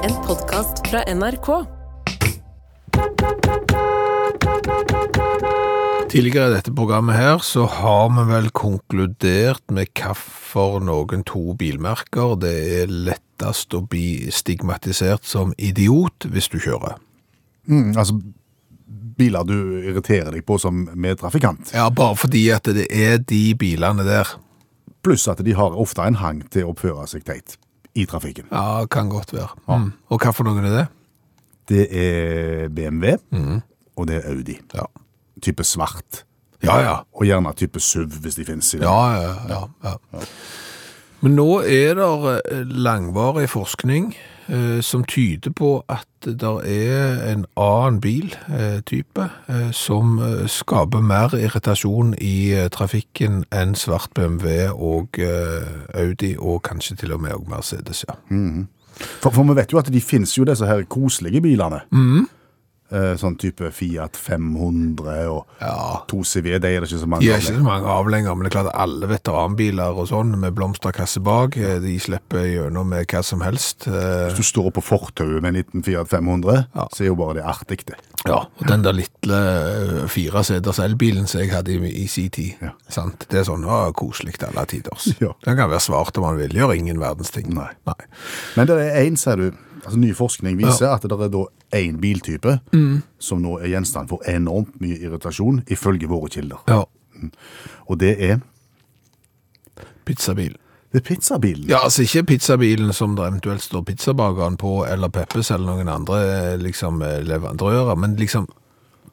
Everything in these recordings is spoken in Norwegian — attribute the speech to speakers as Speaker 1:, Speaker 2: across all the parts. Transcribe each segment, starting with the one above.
Speaker 1: podkast fra NRK.
Speaker 2: Tidligere i dette programmet her så har vi vel konkludert med hvorfor noen to bilmerker det er lettest å bli stigmatisert som idiot hvis du kjører.
Speaker 3: Mm, altså biler du irriterer deg på som medtrafikant.
Speaker 2: Ja, bare fordi at det er de bilene der.
Speaker 3: Pluss at de har ofte en hang til å oppføre seg teit i trafikken.
Speaker 2: Ja, kan godt være. Mm. Og hva for noen er det?
Speaker 3: Det er BMW, og det er Audi.
Speaker 2: Mhm. Ja.
Speaker 3: Type svart.
Speaker 2: Ja, ja.
Speaker 3: Og gjerne type SUV, hvis de finnes i det.
Speaker 2: Ja, ja, ja. ja. Men nå er det eh, langvarig forskning eh, som tyder på at det er en annen biltype eh, som eh, skaper mer irritasjon i eh, trafikken enn svart BMW og eh, Audi, og kanskje til og med og Mercedes, ja.
Speaker 3: For, for vi vet jo at de finnes jo disse her koselige bilene.
Speaker 2: Mhm.
Speaker 3: Eh, sånn type Fiat 500 og
Speaker 2: Ja.
Speaker 3: 2 CV, de er det ikke så mange
Speaker 2: De er
Speaker 3: av.
Speaker 2: ikke så mange av lenger, men det er klart at alle veteranbiler og sånn, med blomsterkasse bak, eh, de slipper gjennom med hva som helst. eh,
Speaker 3: Hvis du står på fortauet med en liten Fiat 500,
Speaker 2: Ja.
Speaker 3: så er jo bare det artig, det.
Speaker 2: Ja, og den der lille eh, fireseters elbilen som jeg hadde i, i sin tid.
Speaker 3: Ja.
Speaker 2: Sant? Det er sånn å, koselig til alle tiders.
Speaker 3: Ja.
Speaker 2: Den kan være svart om man vil, gjør ingen verdens ting.
Speaker 3: Nei. Men det er én, sier du. Altså, ny forskning viser at det er da én biltype som nå er gjenstand for enormt mye irritasjon, ifølge våre kilder.
Speaker 2: Ja,
Speaker 3: Og det er,
Speaker 2: pizzabil.
Speaker 3: det er pizzabilen.
Speaker 2: Ja, altså ikke pizzabilen som det eventuelt står pizzabakeren på, eller Peppes eller noen andre eh, liksom, eh, leverandører, men liksom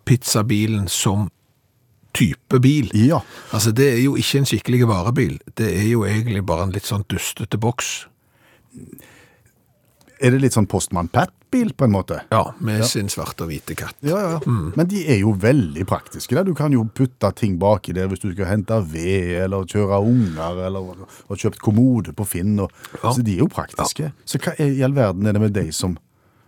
Speaker 2: pizzabilen som type bil.
Speaker 3: Ja.
Speaker 2: Altså, det er jo ikke en skikkelig varebil. Det er jo egentlig bare en litt sånn dustete boks.
Speaker 3: Er det litt sånn Postmann Pat-bil, på en måte?
Speaker 2: Ja, med sin svarte og hvite katt.
Speaker 3: Ja, ja. Men de er jo veldig praktiske. Da. Du kan jo putte ting baki der hvis du skal hente ved, eller kjøre unger, eller har kjøpt kommode på Finn. Og,
Speaker 2: Ja.
Speaker 3: Så de er jo praktiske. Så hva i all verden er det med de som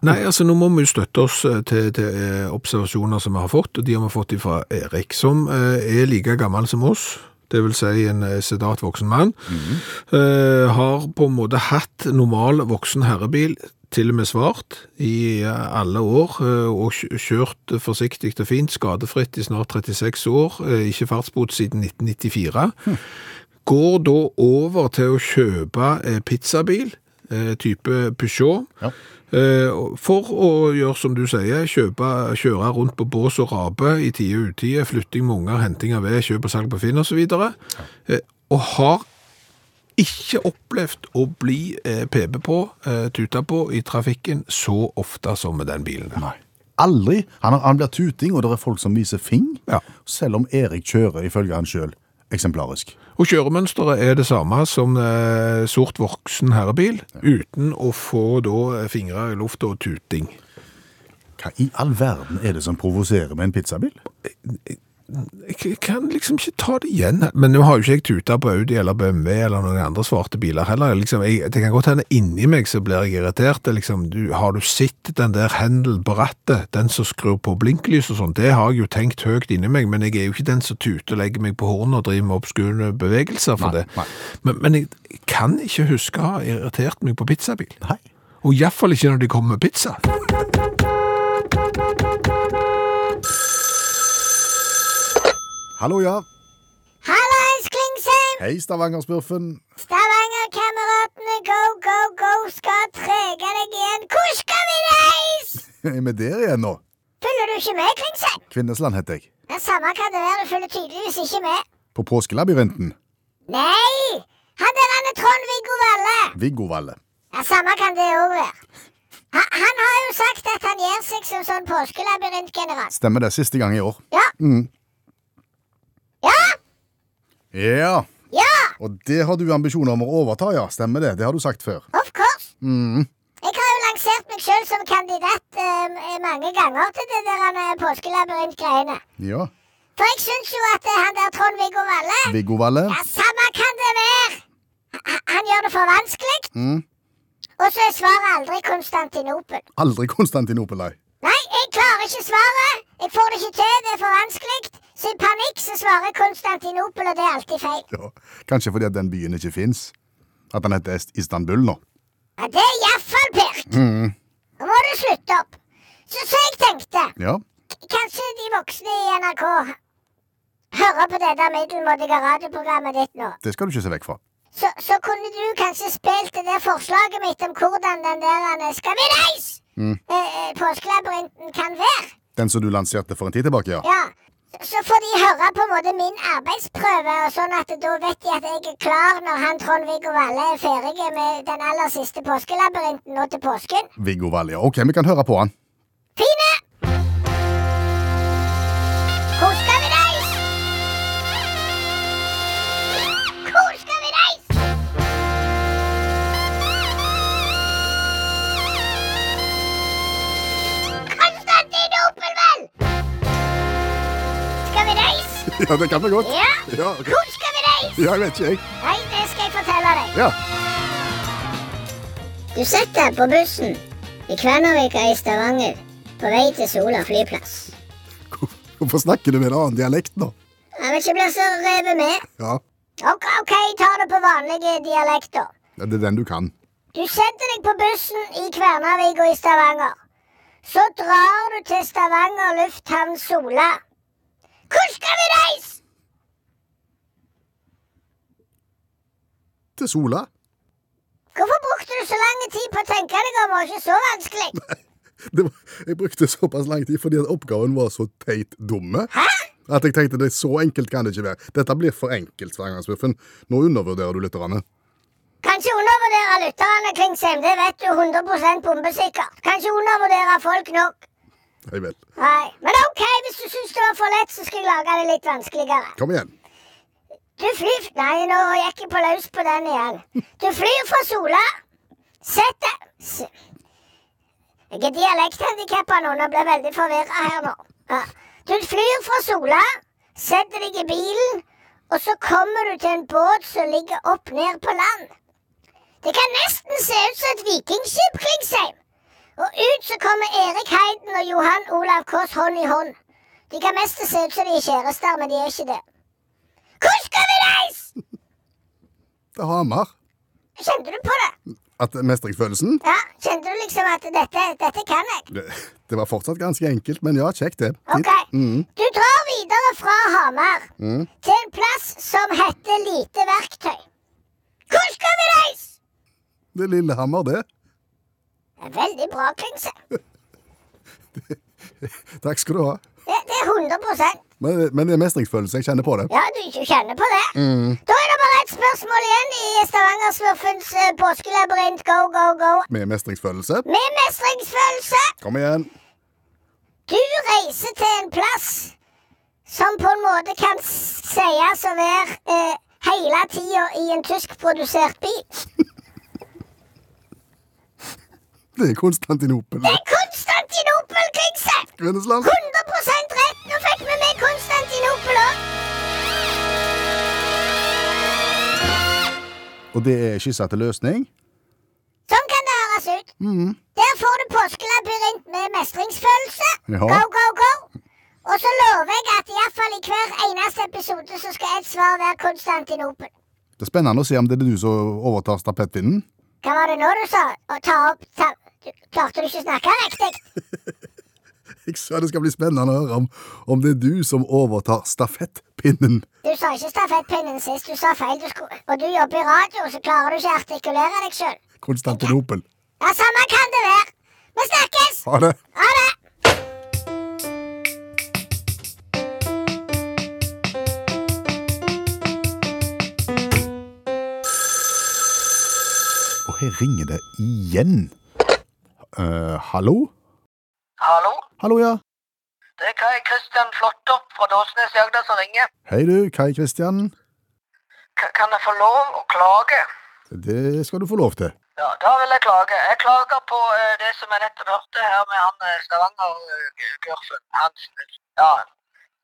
Speaker 2: Nei, altså nå må vi jo støtte oss eh, til, til eh, observasjoner som vi har fått, og de har vi fått fra Erik, som eh, er like gammel som oss, det vil si en eh, sedat voksen mann, eh, har på en måte hatt normal voksen herrebil, til og med svart, i eh, alle år, eh, og kj- kjørt forsiktig og fint, skadefritt i snart 36 år, eh, ikke fartsbot siden 1994 går da over til å kjøpe eh, pizzabil, eh, type Peugeot,
Speaker 3: Ja.
Speaker 2: eh, for å gjøre som du sier, kjøpe, kjøre rundt på bås og rabe i tide og utide, flytting med unger, henting av ved, kjøp og salg på Finn og så videre, eh, og har ikke opplevd å bli eh, pebe på, eh, tuta på i trafikken så ofte som med den bilen.
Speaker 3: Nei. Aldri. Han, har- han blir tuting, og det er folk som viser fing.
Speaker 2: Ja.
Speaker 3: Selv om Erik kjører, ifølge han sjøl, eksemplarisk.
Speaker 2: Og kjøremønsteret er det samme som eh, sort voksen herrebil, uten å få da eh, fingre i luft og tuting.
Speaker 3: Hva i all verden er det som provoserer med en pizzabil?
Speaker 2: Jeg kan liksom ikke ta det igjen. Men nå har jo ikke jeg tuta på Audi eller BMW eller noen andre svarte biler heller. Liksom, jeg, det kan godt hende inni meg så blir jeg irritert. Det er Liksom, du, har du sett den der hendel på rattet, den som skrur på blinklys og sånn? Det har jeg jo tenkt høyt inni meg, men jeg er jo ikke den som tuter, legger meg på hornet og driver med obskure bevegelser for
Speaker 3: Nei,
Speaker 2: det.
Speaker 3: nei.
Speaker 2: Men, men jeg kan ikke huske å ha irritert meg på pizzabil.
Speaker 3: Nei.
Speaker 2: Og iallfall ikke når de kommer med pizza.
Speaker 3: Hallo, ja.
Speaker 4: Hallais, Klingsheim!
Speaker 3: Hei, Stavangersmurfen.
Speaker 4: Stavangerkameratene go, go, go skal trege deg igjen. Hvor skal vi reise?
Speaker 3: Er vi der igjen nå?
Speaker 4: Følger du ikke med, Klingsheim?
Speaker 3: Kvinnesland heter jeg.
Speaker 4: Men samme hva det er, du følger tydeligvis ikke med.
Speaker 3: På Påskelabyrinten.
Speaker 4: Nei! Han der han er Trond-Viggo Valle.
Speaker 3: Viggo Valle.
Speaker 4: Ja, samme kan det òg være. Ha, han har jo sagt at han gjør seg som sånn påskelabyrintgeneral.
Speaker 3: Stemmer det. Siste gang i år.
Speaker 4: Ja. Ja!
Speaker 3: Ja.
Speaker 4: Ja!
Speaker 3: Og det har du ambisjoner om å overta, ja. Stemmer det. Det har du sagt før.
Speaker 4: Of course. Jeg har jo lansert meg sjøl som kandidat eh, mange ganger til det der eh, påskelabyrintgreiene.
Speaker 3: Ja.
Speaker 4: For jeg syns jo at eh, han der Trond-Viggo Valle
Speaker 3: Viggo Valle.
Speaker 4: Ja, samme kan det være! Ha- Han gjør det for vanskelig.
Speaker 3: Mm.
Speaker 4: Og så er svaret aldri Konstantinopel.
Speaker 3: Aldri Konstantinopel, nei.
Speaker 4: Nei, jeg klarer ikke svaret. Jeg får det ikke til, det er for vanskelig. Så i panikk så svarer Konstantinopel, og det er alltid feil.
Speaker 3: Ja. Kanskje fordi at den byen ikke fins. At den heter Est- Istanbul nå.
Speaker 4: Ja, det er iallfall pirk. Mm. Og Så, så jeg tenkte
Speaker 3: Ja.
Speaker 4: Kanskje de voksne i NRK hører på det der middelmådige radioprogrammet ditt nå.
Speaker 3: Det skal du ikke se vekk fra.
Speaker 4: Så, så kunne du kanskje spilt det der forslaget mitt om hvordan den der eh, Skal vi reise? Eh, eh, Påskelabyrinten kan være.
Speaker 3: Den som du lanserte for en tid tilbake, ja.
Speaker 4: Ja. Så- Så får de høre på en måte min arbeidsprøve, og sånn at da vet de at jeg er klar når han Trond-Viggo Valle er ferdig med den aller siste påskelabyrinten nå til påsken.
Speaker 3: Viggo Valle, ja. Ok, vi kan høre på han.
Speaker 4: Fine! Hvor skal vi reise? Hvor skal vi reise? Konstantinopel, vel! Skal vi reise?
Speaker 3: Ja, det kan vi godt.
Speaker 4: Ja.
Speaker 3: Ja, ok.
Speaker 4: Hvor skal vi reise?
Speaker 3: ja jeg vet ikke, jeg.
Speaker 4: Nei, det skal jeg fortelle deg.
Speaker 3: Ja.
Speaker 4: Du setter deg på bussen i Kvenavika i Stavanger på vei til Sola flyplass.
Speaker 3: Hvorfor snakker du med en annen dialekt nå?
Speaker 4: Jeg vet ikke, jeg blir så revet med.
Speaker 3: Ja,
Speaker 4: Ok, ok, ta det på vanlige dialekter.
Speaker 3: det er den du kan.
Speaker 4: Du setter deg på bussen i Kvernavik og i Stavanger. Så drar du til Stavanger lufthavn Sola. Hvor skal vi reise?
Speaker 3: Til Sola.
Speaker 4: Hvorfor brukte du så lang tid på å tenke deg om, og ikke så vanskelig?
Speaker 3: Det var, jeg brukte såpass lang tid fordi at oppgaven var så teit dumme.
Speaker 4: Hæ?
Speaker 3: At jeg tenkte det så enkelt kan det ikke være. Dette blir for enkelt, Svergangsbuffen. Nå undervurderer du lytterne.
Speaker 4: Kanskje undervurdere lytterne, Klingsheim. Det vet du 100 bombesikkert. Kanskje undervurdere folk nok.
Speaker 3: Jeg vet.
Speaker 4: Nei. Men ok, hvis du syns det var for lett, så skal jeg lage det litt vanskeligere.
Speaker 3: Kom igjen.
Speaker 4: Du flyr Nei, nå gikk jeg på løs på den igjen. Du flyr fra Sola. Sett deg s- Jeg er dialekthandikappa nå, nå blir jeg veldig forvirra her nå. Ja. Du flyr fra Sola, setter deg i bilen, og så kommer du til en båt som ligger opp ned på land. Det kan nesten se ut som et vikingskip, Klingsheim. Og ut så kommer Erik Heiden og Johan Olav Kaas hånd i hånd. De kan mest se ut som de er kjærester, men de er ikke det. Hvor skal vi reise?
Speaker 3: Til Hamar.
Speaker 4: Kjente du på det?
Speaker 3: At mestringsfølelsen
Speaker 4: Ja, Kjente du liksom at dette, dette kan jeg?
Speaker 3: det, det var fortsatt ganske enkelt, men ja, kjekt det.
Speaker 4: Ok. Du drar videre fra Hamar til en plass som heter Lite verktøy. Hvor skal vi reise?
Speaker 3: Det er Lillehammer, det.
Speaker 4: Det er Veldig bra, Klingse.
Speaker 3: Takk skal du ha.
Speaker 4: Det, det er 100
Speaker 3: Men, men det er mestringsfølelse. Jeg kjenner på det.
Speaker 4: Ja, du ikke kjenner på det. Da er det bare ett spørsmål igjen i Stavangersmurfens eh, påskelabyrint go, go, go.
Speaker 3: Med mestringsfølelse.
Speaker 4: Med mestringsfølelse.
Speaker 3: Kom igjen.
Speaker 4: Du reiser til en plass som på en måte kan s- sies å være eh, hele tida i en tyskprodusert bil.
Speaker 3: Det er Konstantinopel.
Speaker 4: Det er Konstantinopel, Krigsel!
Speaker 3: Kvinnesland.
Speaker 4: 100 rett! Nå fikk vi med Konstantinopel òg.
Speaker 3: Og det er skissa til løsning.
Speaker 4: Sånn kan det høres ut. Der får du påskelabyrint med mestringsfølelse.
Speaker 3: Ja.
Speaker 4: Go, go, go! Og så lover jeg at iallfall i hver eneste episode så skal et svar være Konstantinopel.
Speaker 3: Det er spennende å se om det er du som overtar stapettpinnen.
Speaker 4: Hva var det nå du sa? Å ta opp ta, du, Klarte du ikke å snakke riktig?
Speaker 3: Jeg sa det skal bli spennende å høre om, om det er du som overtar stafettpinnen.
Speaker 4: Du sa ikke stafettpinnen sist, du sa feil. Du skulle, og du jobber i radio, så klarer du ikke å artikulere deg sjøl.
Speaker 3: Konstantinopel.
Speaker 4: Ja, samme kan det være. Vi snakkes!
Speaker 3: Ha det.
Speaker 4: Ha det!
Speaker 3: Og her ringer det igjen. Eh, hallo?
Speaker 1: Hallo,
Speaker 3: Hallo, ja.
Speaker 1: det er Kai Kristian Flåttopp fra Dåsnes i Agder som ringer.
Speaker 3: Hei du, Kai Kristian.
Speaker 1: K- Kan jeg få lov å klage?
Speaker 3: Det skal du få lov til.
Speaker 1: Ja, da vil jeg klage. Jeg klager på eh, det som jeg nettopp hørte her med han eh, Stavanger-Gørfen Hansen. Ja,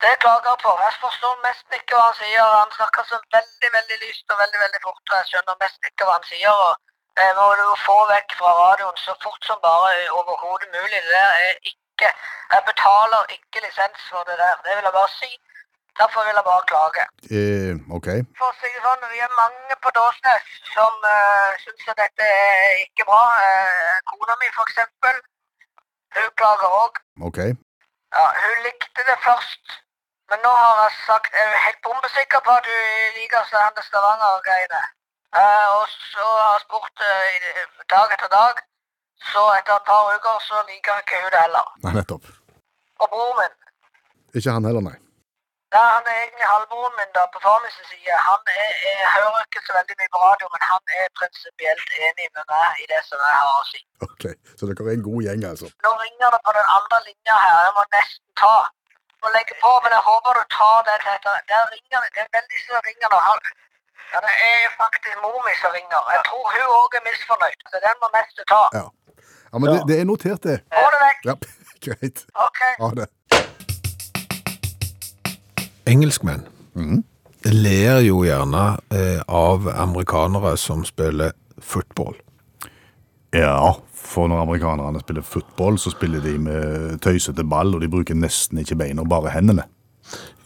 Speaker 1: det jeg klager på. Jeg forstår nesten ikke hva han sier. Han snakker så veldig, veldig lyst og veldig, veldig fort. og Jeg skjønner nesten ikke hva han sier. og Jeg må jo få vekk fra radioen så fort som bare eh, overhodet mulig. Det der er ikke Jeg betaler ikke lisens for det der. Det vil jeg bare si. Derfor vil jeg bare klage.
Speaker 3: Eh, ok.
Speaker 1: For å si det sånn, vi er mange på Dåsnes som Eh, uh, syns at dette er ikke bra. Eh, kona mi, for eksempel, Hun klager òg.
Speaker 3: OK.
Speaker 1: Ja, hun likte det først, men nå har jeg sagt Jeg er helt bombesikker på at hun liker sånne Stavanger-greiene. Eh, og så har jeg spurt eh, i det- dag etter dag, så etter et par uker så liker ikke hun det heller.
Speaker 3: Nei, nettopp.
Speaker 1: Og broren min
Speaker 3: Ikke han heller, nei.
Speaker 1: Nei, han er egentlig halvbroren min da, på far min sin side. Han er, er, hører ikke så veldig mye på radio, men han er prinsipielt enig med meg i det som jeg har å si.
Speaker 3: OK. Så dere er en god gjeng, altså.
Speaker 1: Nå ringer det på den andre linja her. Jeg må nesten ta og legge på, men jeg håper du tar den etter. Der ringer det. Det er veldig som ringer nå. Han- Ja, det er faktisk mor mi som ringer. Jeg tror hun òg er misfornøyd, så den må neste ta.
Speaker 3: Ja. ja men Det, det er notert, det.
Speaker 1: Få det vekk.
Speaker 3: Ja, greit.
Speaker 1: OK.
Speaker 3: Ha det.
Speaker 2: Engelskmenn ler jo gjerne eh, av amerikanere som spiller football.
Speaker 3: Ja, for når amerikanerne spiller fotball, så spiller de med tøysete ball, og de bruker nesten ikke beina, bare hendene.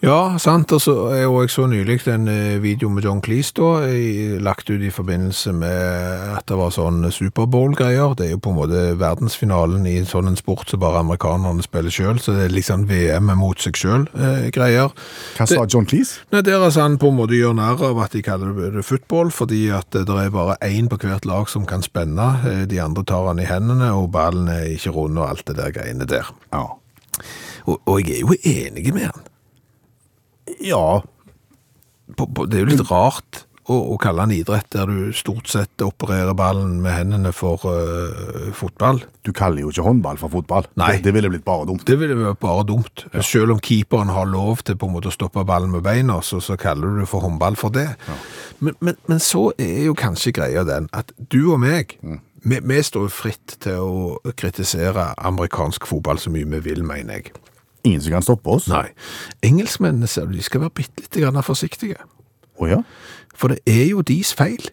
Speaker 2: Ja, sant. Altså, jeg, og jeg så nylig en eh, video med John Cleese, da, i- lagt ut i forbindelse med at det var sånn Superbowl-greier. Det er jo på en måte verdensfinalen i sånn en sport som bare amerikanerne spiller sjøl, så det er liksom VM mot seg eh, sjøl-greier.
Speaker 3: Hva sa John Cleese?
Speaker 2: Nei, Der altså han på en måte gjør narr av at de kaller det- det football, fordi at eh, det er bare én på hvert lag som kan spenne. Eh, De andre tar han i hendene, og ballen er ikke rund og alt det der greiene der.
Speaker 3: Ja.
Speaker 2: Og, og jeg er jo enig med han.
Speaker 3: ja.
Speaker 2: På, på, det er jo litt rart å, å kalle han idrett der du stort sett opererer ballen med hendene for eh, fotball.
Speaker 3: Du kaller jo ikke håndball for fotball.
Speaker 2: Nei.
Speaker 3: Det, det ville blitt bare dumt.
Speaker 2: Det ville vært bare dumt. Selv om keeperen har lov til på en måte å stoppe ballen med beina, så, så kaller du det for håndball for det. Men, men, men så er jo kanskje greia den at du og meg, vi, vi står jo fritt til å kritisere amerikansk fotball så mye vi vil, mener jeg.
Speaker 3: Ingen som kan stoppe oss.
Speaker 2: Nei. Engelskmennene ser du, de skal være bitte litt grann forsiktige.
Speaker 3: Å ja?
Speaker 2: For det er jo deres feil.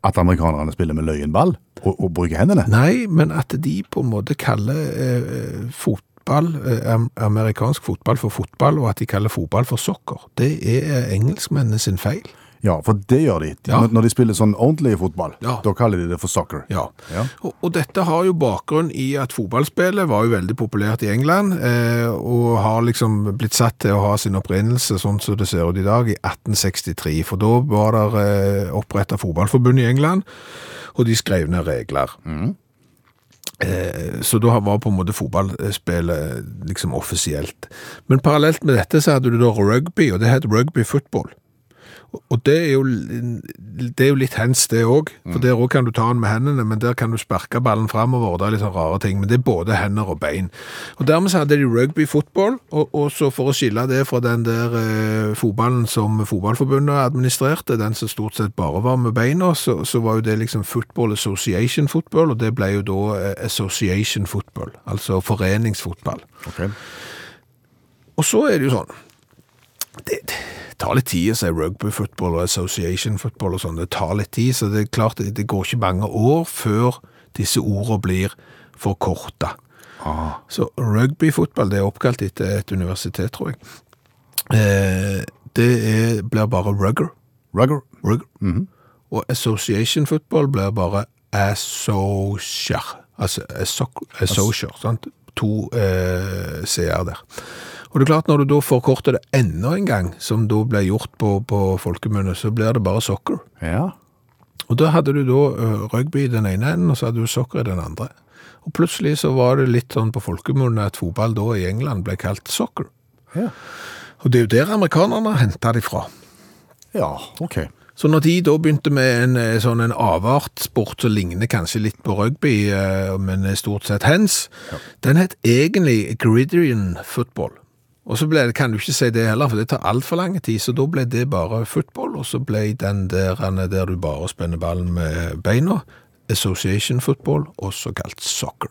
Speaker 3: At amerikanerne spiller med løyen ball, og, og bruker hendene.
Speaker 2: Nei, men at de på en måte kaller eh, eh, fotball, eh, am- amerikansk fotball for fotball, og at de kaller fotball for sokker, det er eh, engelskmennene sin feil.
Speaker 3: Ja, for det gjør de. De-
Speaker 2: Ja.
Speaker 3: Når- Når de spiller sånn ordentlig fotball,
Speaker 2: Ja.
Speaker 3: da kaller de det for soccer.
Speaker 2: Ja.
Speaker 3: Ja.
Speaker 2: Og, og dette har jo bakgrunn i at fotballspillet var jo veldig populært i England, eh, og har liksom blitt satt til å ha sin opprinnelse, sånn som det ser ut i dag, i 1863. For da var det eh, oppretta fotballforbund i England, og de skrev ned regler. Eh, Så da var på en måte fotballspillet liksom offisielt. Men parallelt med dette så hadde du da rugby, og det het rugby football. Og det er jo, det er jo litt hands, det òg. For der òg kan du ta den med hendene, men der kan du sparke ballen framover. Det er litt sånn rare ting. Men det er både hender og bein. Og dermed så hadde de rugby fotball, og, og så for å skille det fra den der eh, fotballen som Fotballforbundet administrerte, den som stort sett bare var med beina, så, så var jo det liksom Football Association Football, og det ble jo da eh, Association Football, altså foreningsfotball.
Speaker 3: Ok.
Speaker 2: Og så er det jo sånn Det, det tar litt tid å si rugby football og association football og sånn. Det tar litt tid, så det er klart det, det går ikke mange år før disse ordene blir forkorta. Så rugbyfotball det er oppkalt etter et universitet, tror jeg. Eh, det er, blir bare rugger.
Speaker 3: Rugger.
Speaker 2: rugger. Og association football blir bare associer. Altså assoc- associer, sant? To eh, CR der. Og det er klart, når du da forkorter det enda en gang, som da ble gjort på, på folkemunne, så blir det bare soccer.
Speaker 3: Ja.
Speaker 2: Og da hadde du da eh, rugby i den ene enden, og så hadde du soccer i den andre. Og plutselig så var det litt sånn på folkemunne at fotball da i England ble kalt soccer.
Speaker 3: Ja.
Speaker 2: Og det er jo der amerikanerne henta det fra.
Speaker 3: Ja, ok.
Speaker 2: Så når de da begynte med en eh, sånn en avart sport som ligner kanskje litt på rugby, eh, men er stort sett hands, den het egentlig gridiron football. Og så ble det, kan du ikke si det heller, for det tar altfor lang tid, så da ble det bare football, og så ble den der, der du bare spenner ballen med beina, association football, også kalt soccer.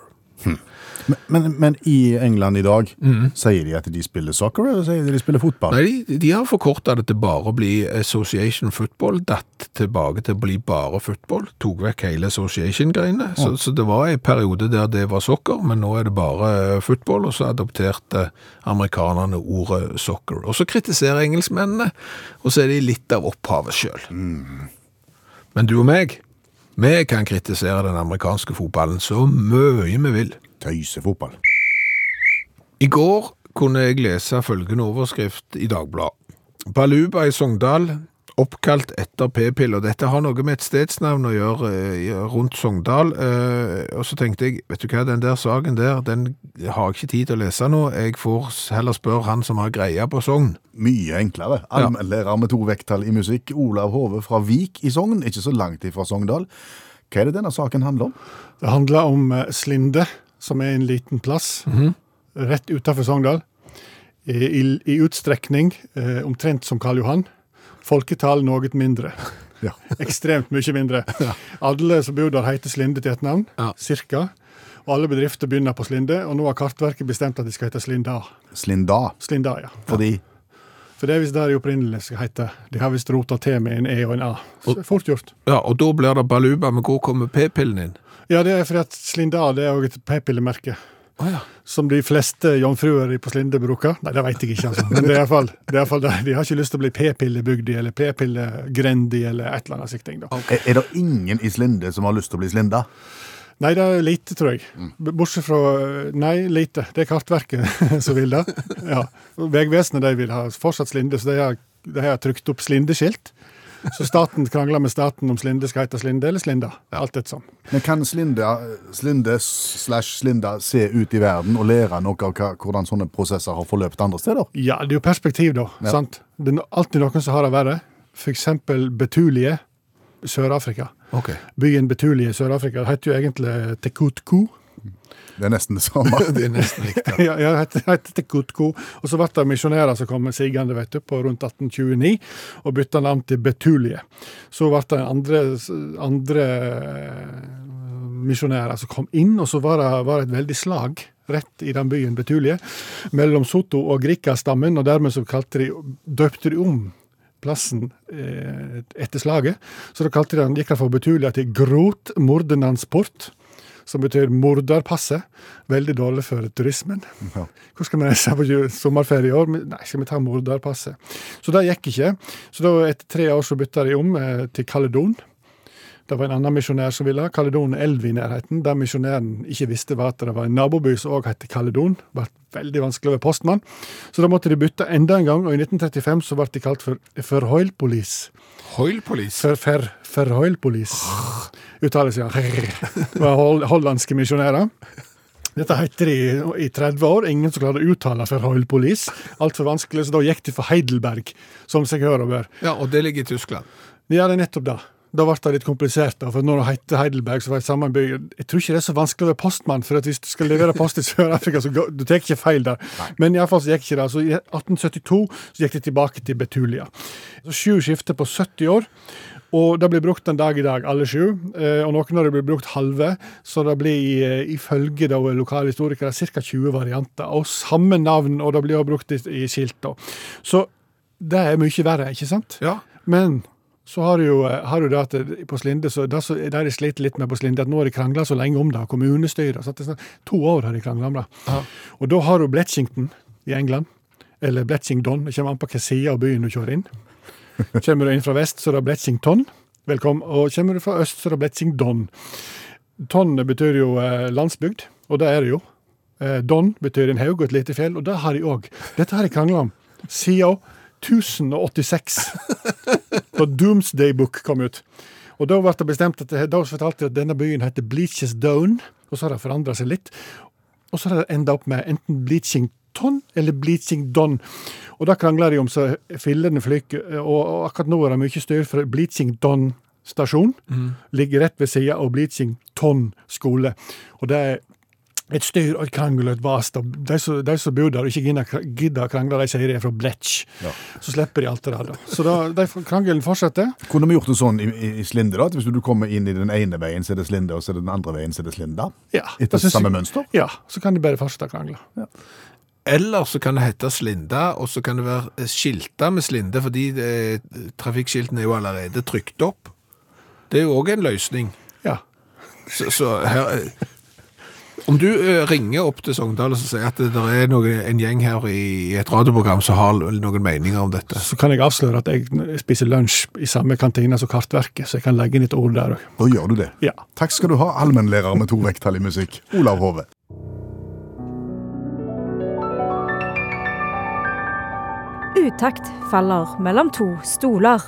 Speaker 3: Men, men, men i England i dag, sier de at de spiller soccer, eller sier de de spiller fotball?
Speaker 2: Mm. Nei, de, de har forkorta det til bare å bli association football, datt tilbake til å bli bare football, tok vekk hele association-greiene. Så, så det var en periode der det var soccer, men nå er det bare eh, football, og så adopterte amerikanerne ordet soccer. Og så kritiserer engelskmennene, og så er de litt av opphavet sjøl. Men du og meg, vi kan kritisere den amerikanske fotballen så mye vi vil.
Speaker 3: Tøysefotball.
Speaker 2: I går kunne jeg lese følgende overskrift i Dagbladet. Baluba i Sogndal, oppkalt etter p-piller. Dette har noe med et stedsnavn å gjøre eh, i- rundt Sogndal. eh, Og så tenkte jeg, vet du hva, den der saken der, den har jeg ikke tid til å lese nå. Jeg får s- heller spørre han som har greia på Sogn.
Speaker 3: Mye enklere. Allmennlærer med to vekttall i musikk, Olav Hove fra Vik i Sogn, ikke så langt ifra Sogndal. Hva er det denne saken handler om?
Speaker 5: Det handler om eh, Slinde, som er en liten plass rett utenfor Sogndal. I, i, i utstrekning eh, omtrent som Karl Johan. Folketall noe mindre.
Speaker 3: Ja.
Speaker 5: Ekstremt mye mindre. Alle som bor der, heter Slinde til et navn,
Speaker 2: Ja.
Speaker 5: cirka. Og alle bedrifter begynner på Slinde, og nå har Kartverket bestemt at de skal hete Slinda.
Speaker 3: Slinda.
Speaker 5: Slinda, ja.
Speaker 3: Fordi
Speaker 5: For det er visst der de opprinnelig skal hete. De har visst rota til med en E og en A. Så fort gjort.
Speaker 2: Ja, og da blir det Baluba, men hvor kommer p-pillen inn?
Speaker 5: Ja, det er fordi at Slinda det er òg et p-pillemerke.
Speaker 2: Å ja.
Speaker 5: Som de fleste jomfruer i på Slinde bruker. Nei, det veit jeg ikke, altså. Men det er iallfall det. er i hvert fall det. De har ikke lyst til å bli p-pillebygdi eller p-pillegrendi eller et eller annet slikt. ting, da.
Speaker 3: er, er det ingen i Slinde som har lyst til å bli Slinda?
Speaker 5: Nei, det er lite, tror jeg. B- Bortsett fra Nei, lite. Det er Kartverket som vil det. Ja. Vegvesenet de vil ha fortsatt Slinde, så de har, de har trykt opp Slindeskilt. Så staten krangler med staten om Slinde skal hete Slinde eller Slinda. Alt etter som.
Speaker 3: Men kan Slinda, Slinde slash Slinda se ut i verden og lære noe av hva, hvordan sånne prosesser har forløpt andre steder?
Speaker 5: Ja, det er jo perspektiv, da.
Speaker 3: Ja.
Speaker 5: sant? Det er no- alltid noen som har det verre. F.eks. Betulie, Sør-Afrika.
Speaker 2: Ok.
Speaker 5: Byen Betulie i Sør-Afrika det heter jo egentlig Tekutku.
Speaker 3: Det er nesten det samme.
Speaker 2: Det er nesten riktig.
Speaker 5: ja, ja, det heter Tekutku. Og så ble det misjonærer som kom sigende vet du, på rundt 1829 og bytta navn til Betulie. Så ble det andre, andre eh, misjonærer som kom inn, og så var det, var det et veldig slag rett i den byen Betulie mellom Soto og Grika-stammen, og dermed så kalte de, døpte de om plassen eh, etter slaget. Så da kalte de den, gikk den fra Betulia til Grot Mordenansport, som betyr morderpasset. Veldig dårlig for turismen. Hvor skal vi reise på ju- sommerferie i år? Men Nei, skal vi ta morderpasset? Så det gikk ikke. Så da etter tre år så bytta de om eh, til Kaledon. Det var en annen misjonær som ville ha Kaledon elv i nærheten, der misjonæren ikke visste var at det var en naboby som òg het Kaledon. Det ble veldig vanskelig å være postmann. Så da måtte de bytte enda en gang, og i 1935 så ble de kalt for Forhøylpolis.
Speaker 2: Hoil Police.
Speaker 5: For, for, Forhøylpolis. Uttaler seg han. Det var hol- hollandske misjonærer. Dette heter de i 30 år. Ingen som klarte å uttale Forhøylpolis. Altfor vanskelig, så da gikk de for Heidelberg, som seg hører og bør.
Speaker 2: Ja, og det ligger i Tyskland.
Speaker 5: Ja, det er nettopp det. Da ble det litt komplisert, da, for når det heter Heidelberg, så var det samme by. Jeg tror ikke det er så vanskelig å være postmann, for at hvis du skal levere post i Sør-Afrika, så går, du tar ikke feil der. Men iallfall så gikk ikke det. Så i 1872 så gikk de tilbake til Betulia. Så Sju skifter på 70 år. Og det blir brukt en dag i dag, alle sju. Eh, Og noen av dem blir brukt halve, så det blir eh, ifølge da lokale historikere ca. 20 varianter. Og samme navn, og det blir også brukt i, i skilt. da. Så det er mye verre, ikke sant?
Speaker 2: Ja.
Speaker 5: Men så har du jo, eh, har du det at det- på Slinde, så det som- det de sliter litt med på Slinde, at nå har de krangla så lenge om det, kommunestyret sant? Det er sånn, To år har de krangla om det. Og da har du Bletchington i England, eller Bletchingdon, det kommer an på hvilken side av byen du kjører inn. Kommer du inn fra vest, så er det Bletchington. Velkommen. Og kommer du fra øst, så er det Bletchingdon. Ton betyr jo eh, landsbygd, og det er det jo. Eh, Don betyr en haug og et lite fjell, og det har de òg. Dette har de krangla om siden 1086 da Doomsday Book kom ut. Og Da ble det bestemt at da fortalte de at denne byen heter Bleaches Down, og så har det forandra seg litt. Og så har det enda opp med enten Bleachington eller Bleachingdon. Og det krangler de om så fillene flyker, og, og akkurat nå er det mye styr for Bleachingdon stasjon. Ligger rett ved sida av Bleachington skole. Og det er et styr og et krangel og et vas. da. De som, de som bor der og ikke gidder- gidder å krangle, de sier de er fra Bletch. Så slipper de alt det der. da. Så da, de, krangelen fortsetter.
Speaker 3: Kunne vi gjort det sånn i, i, i Slinde, da? At hvis du kommer inn i den ene veien, så er det Slinde, og så er det den andre veien, så er det Slinda?
Speaker 5: Ja,
Speaker 3: Etter
Speaker 5: da synes
Speaker 3: samme
Speaker 5: jeg-
Speaker 3: mønster?
Speaker 5: Ja, så kan de bare fortsette å krangle.
Speaker 2: Eller så kan det hete Slinda, og så kan det være eh, skilta med Slinde, fordi eh, trafikkskiltene er jo allerede trykt opp. Det er jo òg en løsning.
Speaker 5: Ja.
Speaker 2: Så, så her eh, Om du eh, ringer opp til Sogndal og så sier at det der er noen, en gjeng her i et radioprogram som har noen meninger om dette
Speaker 5: Så kan jeg avsløre at jeg spiser lunsj i samme kantina som Kartverket, så jeg kan legge inn et ord der òg.
Speaker 3: Da gjør du det.
Speaker 5: Ja.
Speaker 3: Takk skal du ha, allmennlærer med to vekttall i musikk, Olav Hove.
Speaker 6: utakt faller mellom to stoler.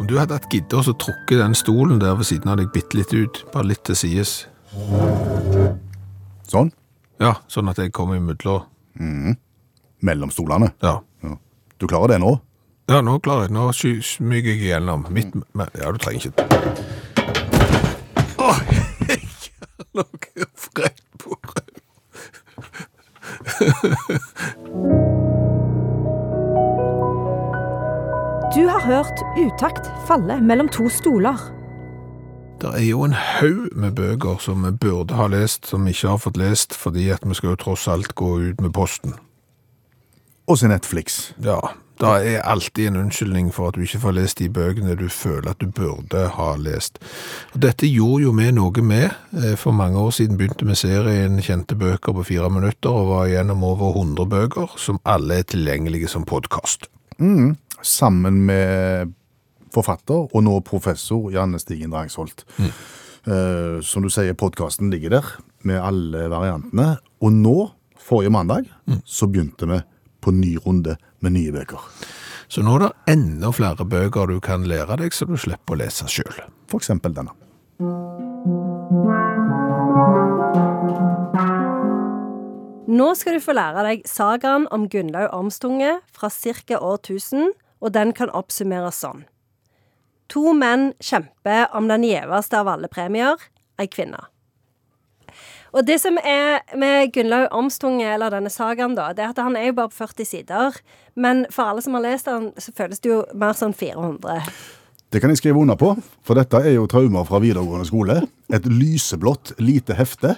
Speaker 2: Om du hadde hatt gidde og så trukket den stolen der ved siden av deg bitte litt ut, bare litt til sides.
Speaker 3: Sånn.
Speaker 2: Ja, sånn at jeg kommer imidler.
Speaker 3: Mellom stolene.
Speaker 2: Ja.
Speaker 3: Ja. Du klarer det nå?
Speaker 2: ja, nå klarer jeg. Nå sky- smyger jeg gjennom. Mitt men- Ja, du trenger ikke Åh, jeg har noe fred på rød.
Speaker 6: Du har hørt utakt falle mellom to stoler.
Speaker 2: Det er jo en haug med bøker som vi burde ha lest, som vi ikke har fått lest, fordi at vi skal jo tross alt gå ut med posten.
Speaker 3: Og se Netflix.
Speaker 2: Ja, det er alltid en unnskyldning for at du ikke får lest de bøkene du føler at du burde ha lest. Og dette gjorde jo vi noe med. Eh, For mange år siden begynte vi serien Kjente bøker på fire minutter, og var gjennom over 100 bøker, som alle er tilgjengelige som podkast.
Speaker 3: Sammen med forfatter, og nå professor, Janne Stigen Drangsholt.
Speaker 5: Mm.
Speaker 3: Eh, som du sier, podkasten ligger der, med alle variantene. Og nå, forrige mandag,
Speaker 5: Mm.
Speaker 3: så begynte vi på ny runde med nye bøker.
Speaker 2: Så nå er det enda flere bøker du kan lære deg, så du slipper å lese sjøl.
Speaker 3: For eksempel denne.
Speaker 7: Nå skal du få lære deg sagaen om Gunnlaug Omstunge fra ca. årtusen, og den kan oppsummeres sånn. To menn kjemper om den gjeveste av alle premier, ei kvinne. Og det som er med Gunnlaug Omstunge, eller denne sagaen, da, det er at han er jo bare på 40 sider. Men for alle som har lest den, så føles det jo mer sånn 400.
Speaker 3: Det kan jeg skrive under på, for dette er jo traumer fra videregående skole. Et lyseblått lite hefte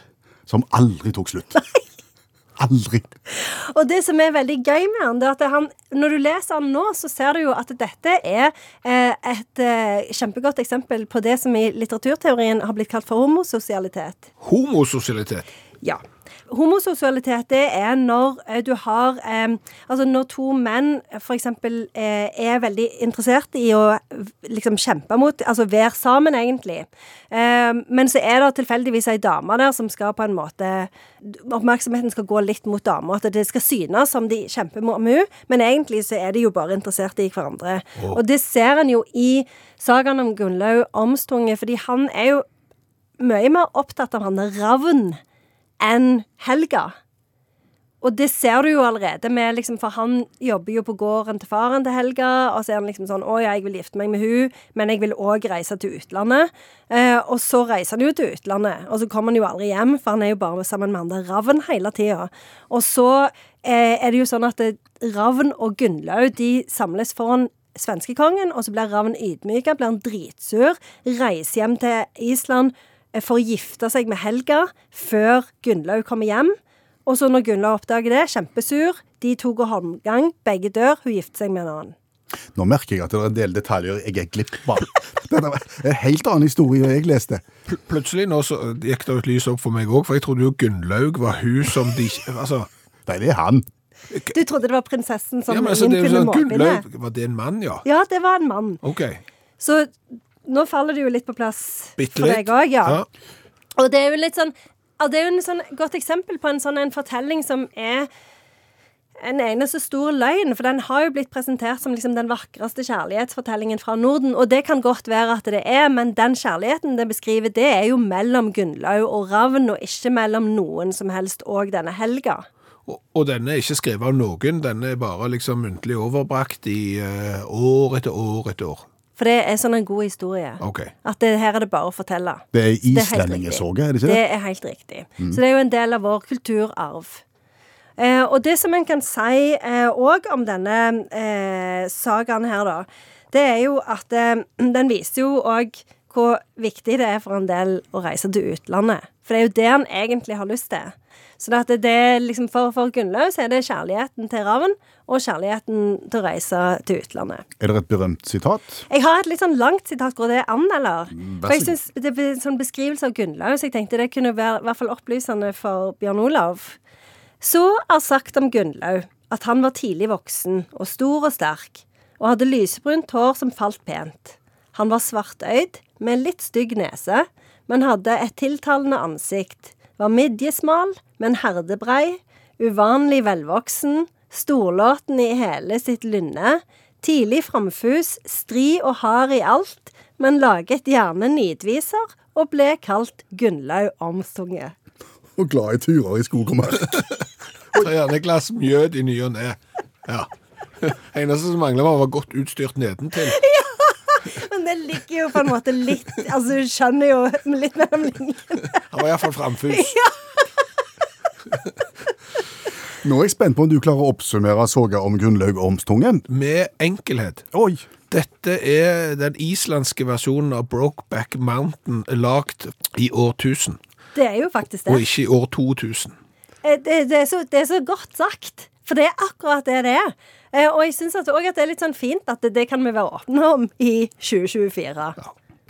Speaker 3: som aldri tok slutt. Aldri.
Speaker 7: Og det som er veldig gøy med han, det er at han, når du leser han nå, så ser du jo at dette er eh, et eh, kjempegodt eksempel på det som i litteraturteorien har blitt kalt for homososialitet.
Speaker 2: Homososialitet.
Speaker 7: Ja. Homososialitet det er når eh, du har eh, Altså når to menn f.eks. Eh, er veldig interessert i å eh, liksom kjempe mot Altså være sammen, egentlig. Eh, men så er det tilfeldigvis ei dame der som skal på en måte Oppmerksomheten skal gå litt mot dama. At det skal synes som de kjemper mot henne, men egentlig så er de jo bare interessert i hverandre. Og det ser en jo i sagaen om Gunnlaug Omstunge, fordi han er jo mye mer opptatt av han Ravn enn helga. Og det ser du jo allerede med liksom, For han jobber jo på gården til faren til Helga, og så er han liksom sånn 'Å ja, jeg vil gifte meg med hun, men jeg vil òg reise til utlandet'. Eh, og så reiser han jo til utlandet, og så kommer han jo aldri hjem, for han er jo bare sammen med andre Ravn hele tida. Og så eh, er det jo sånn at eh, Ravn og Gunnlaug, de samles foran svenskekongen, og så blir Ravn ydmyka, blir han dritsur, reiser hjem til Island eh, for å gifte seg med Helga før Gunnlaug kommer hjem. Og så når Gunnlaug oppdager det, kjempesur, de to går håndgang, begge dør, hun gifter seg med en annen.
Speaker 3: Nå merker jeg at det er en del detaljer jeg er glipp av. Dette var en helt annen historie jeg leste.
Speaker 2: Pl- Plutselig nå så eh, gikk det et lys opp for meg òg, for jeg trodde jo Gunnlaug var hun som de Altså.
Speaker 3: Nei, det er han.
Speaker 7: Du trodde det var prinsessen som
Speaker 2: Ja, men altså, det er jo
Speaker 7: innfyller
Speaker 2: sånn,
Speaker 7: måpinnet?
Speaker 2: Gunnlaug, var det en mann, ja?
Speaker 7: Ja, det var en mann.
Speaker 2: Ok,
Speaker 7: Så nå faller det jo litt på plass
Speaker 2: bitte
Speaker 7: for
Speaker 2: litt.
Speaker 7: deg òg, ja.
Speaker 2: Ja.
Speaker 7: Og det er jo litt sånn ja, Det er jo et sånn godt eksempel på en sånn en fortelling som er en eneste stor løgn, for den har jo blitt presentert som liksom den vakreste kjærlighetsfortellingen fra Norden, og det kan godt være at det er, men den kjærligheten det beskriver, det er jo mellom Gunnlaug og Ravn, og ikke mellom noen som helst og denne helga.
Speaker 2: Og, og denne er ikke skrevet av noen, denne er bare liksom muntlig overbrakt i eh, år etter år etter år.
Speaker 7: For det er sånn en god historie.
Speaker 2: Ok.
Speaker 7: At det, her er det bare å fortelle.
Speaker 3: Det er
Speaker 7: Det er helt
Speaker 3: islendingesorget, er det ikke det?
Speaker 7: Det er helt riktig. Så det er jo en del av vår kulturarv. Eh, og det som en kan si òg om denne eh, sagaen her, da, det er jo at eh, den viser jo òg hvor viktig det er for en del å reise til utlandet. For det er jo det han egentlig har lyst til. Så det at det, det er liksom for, for Gunnlaug så er det kjærligheten til Ravn og kjærligheten til å reise til utlandet.
Speaker 3: Er det et berømt sitat?
Speaker 7: Jeg har et litt sånn langt sitat. Går det an, eller?
Speaker 3: Mm, vær
Speaker 7: For jeg
Speaker 3: så
Speaker 7: synes Det er en sånn beskrivelse av Gunnlaug, så jeg tenkte det kunne være i hvert fall opplysende for Bjørn Olav. Så er sagt om Gunnlaug at han var tidlig voksen og stor og sterk, og hadde lysebrunt hår som falt pent. Han var svartøyd, med en litt stygg nese, men hadde et tiltalende ansikt, var midjesmal, men herdebrei, uvanlig velvoksen,
Speaker 8: storlåten i hele sitt lynne, tidlig framfus, stri og hard i alt, men laget gjerne nidviser og ble kalt Gunnlaug Omsunge.
Speaker 3: Og glad i turer i skog og mark.
Speaker 2: Så gjerne et glass mjød i ny og ne. Ja. Eneste som manglet var, var godt utstyrt nedentil.
Speaker 8: Men det ligger jo på en måte litt Altså, du skjønner jo litt mellom linjene.
Speaker 2: Han var iallfall framfus.
Speaker 3: Nå er jeg spent på om du klarer å oppsummere saga om Gunnlaug Ormstungen.
Speaker 2: Med enkelhet.
Speaker 3: Oi!
Speaker 2: Dette er den islandske versjonen av Brokeback Mountain lagd i år 1000,
Speaker 8: Det er jo faktisk det.
Speaker 2: og ikke i år 2000.
Speaker 8: Eh, Det, det, er så, det er så godt sagt, for det er akkurat det det er. Eh, Og jeg syns òg at det er litt sånn fint at det, det kan vi være åpne om i 2024.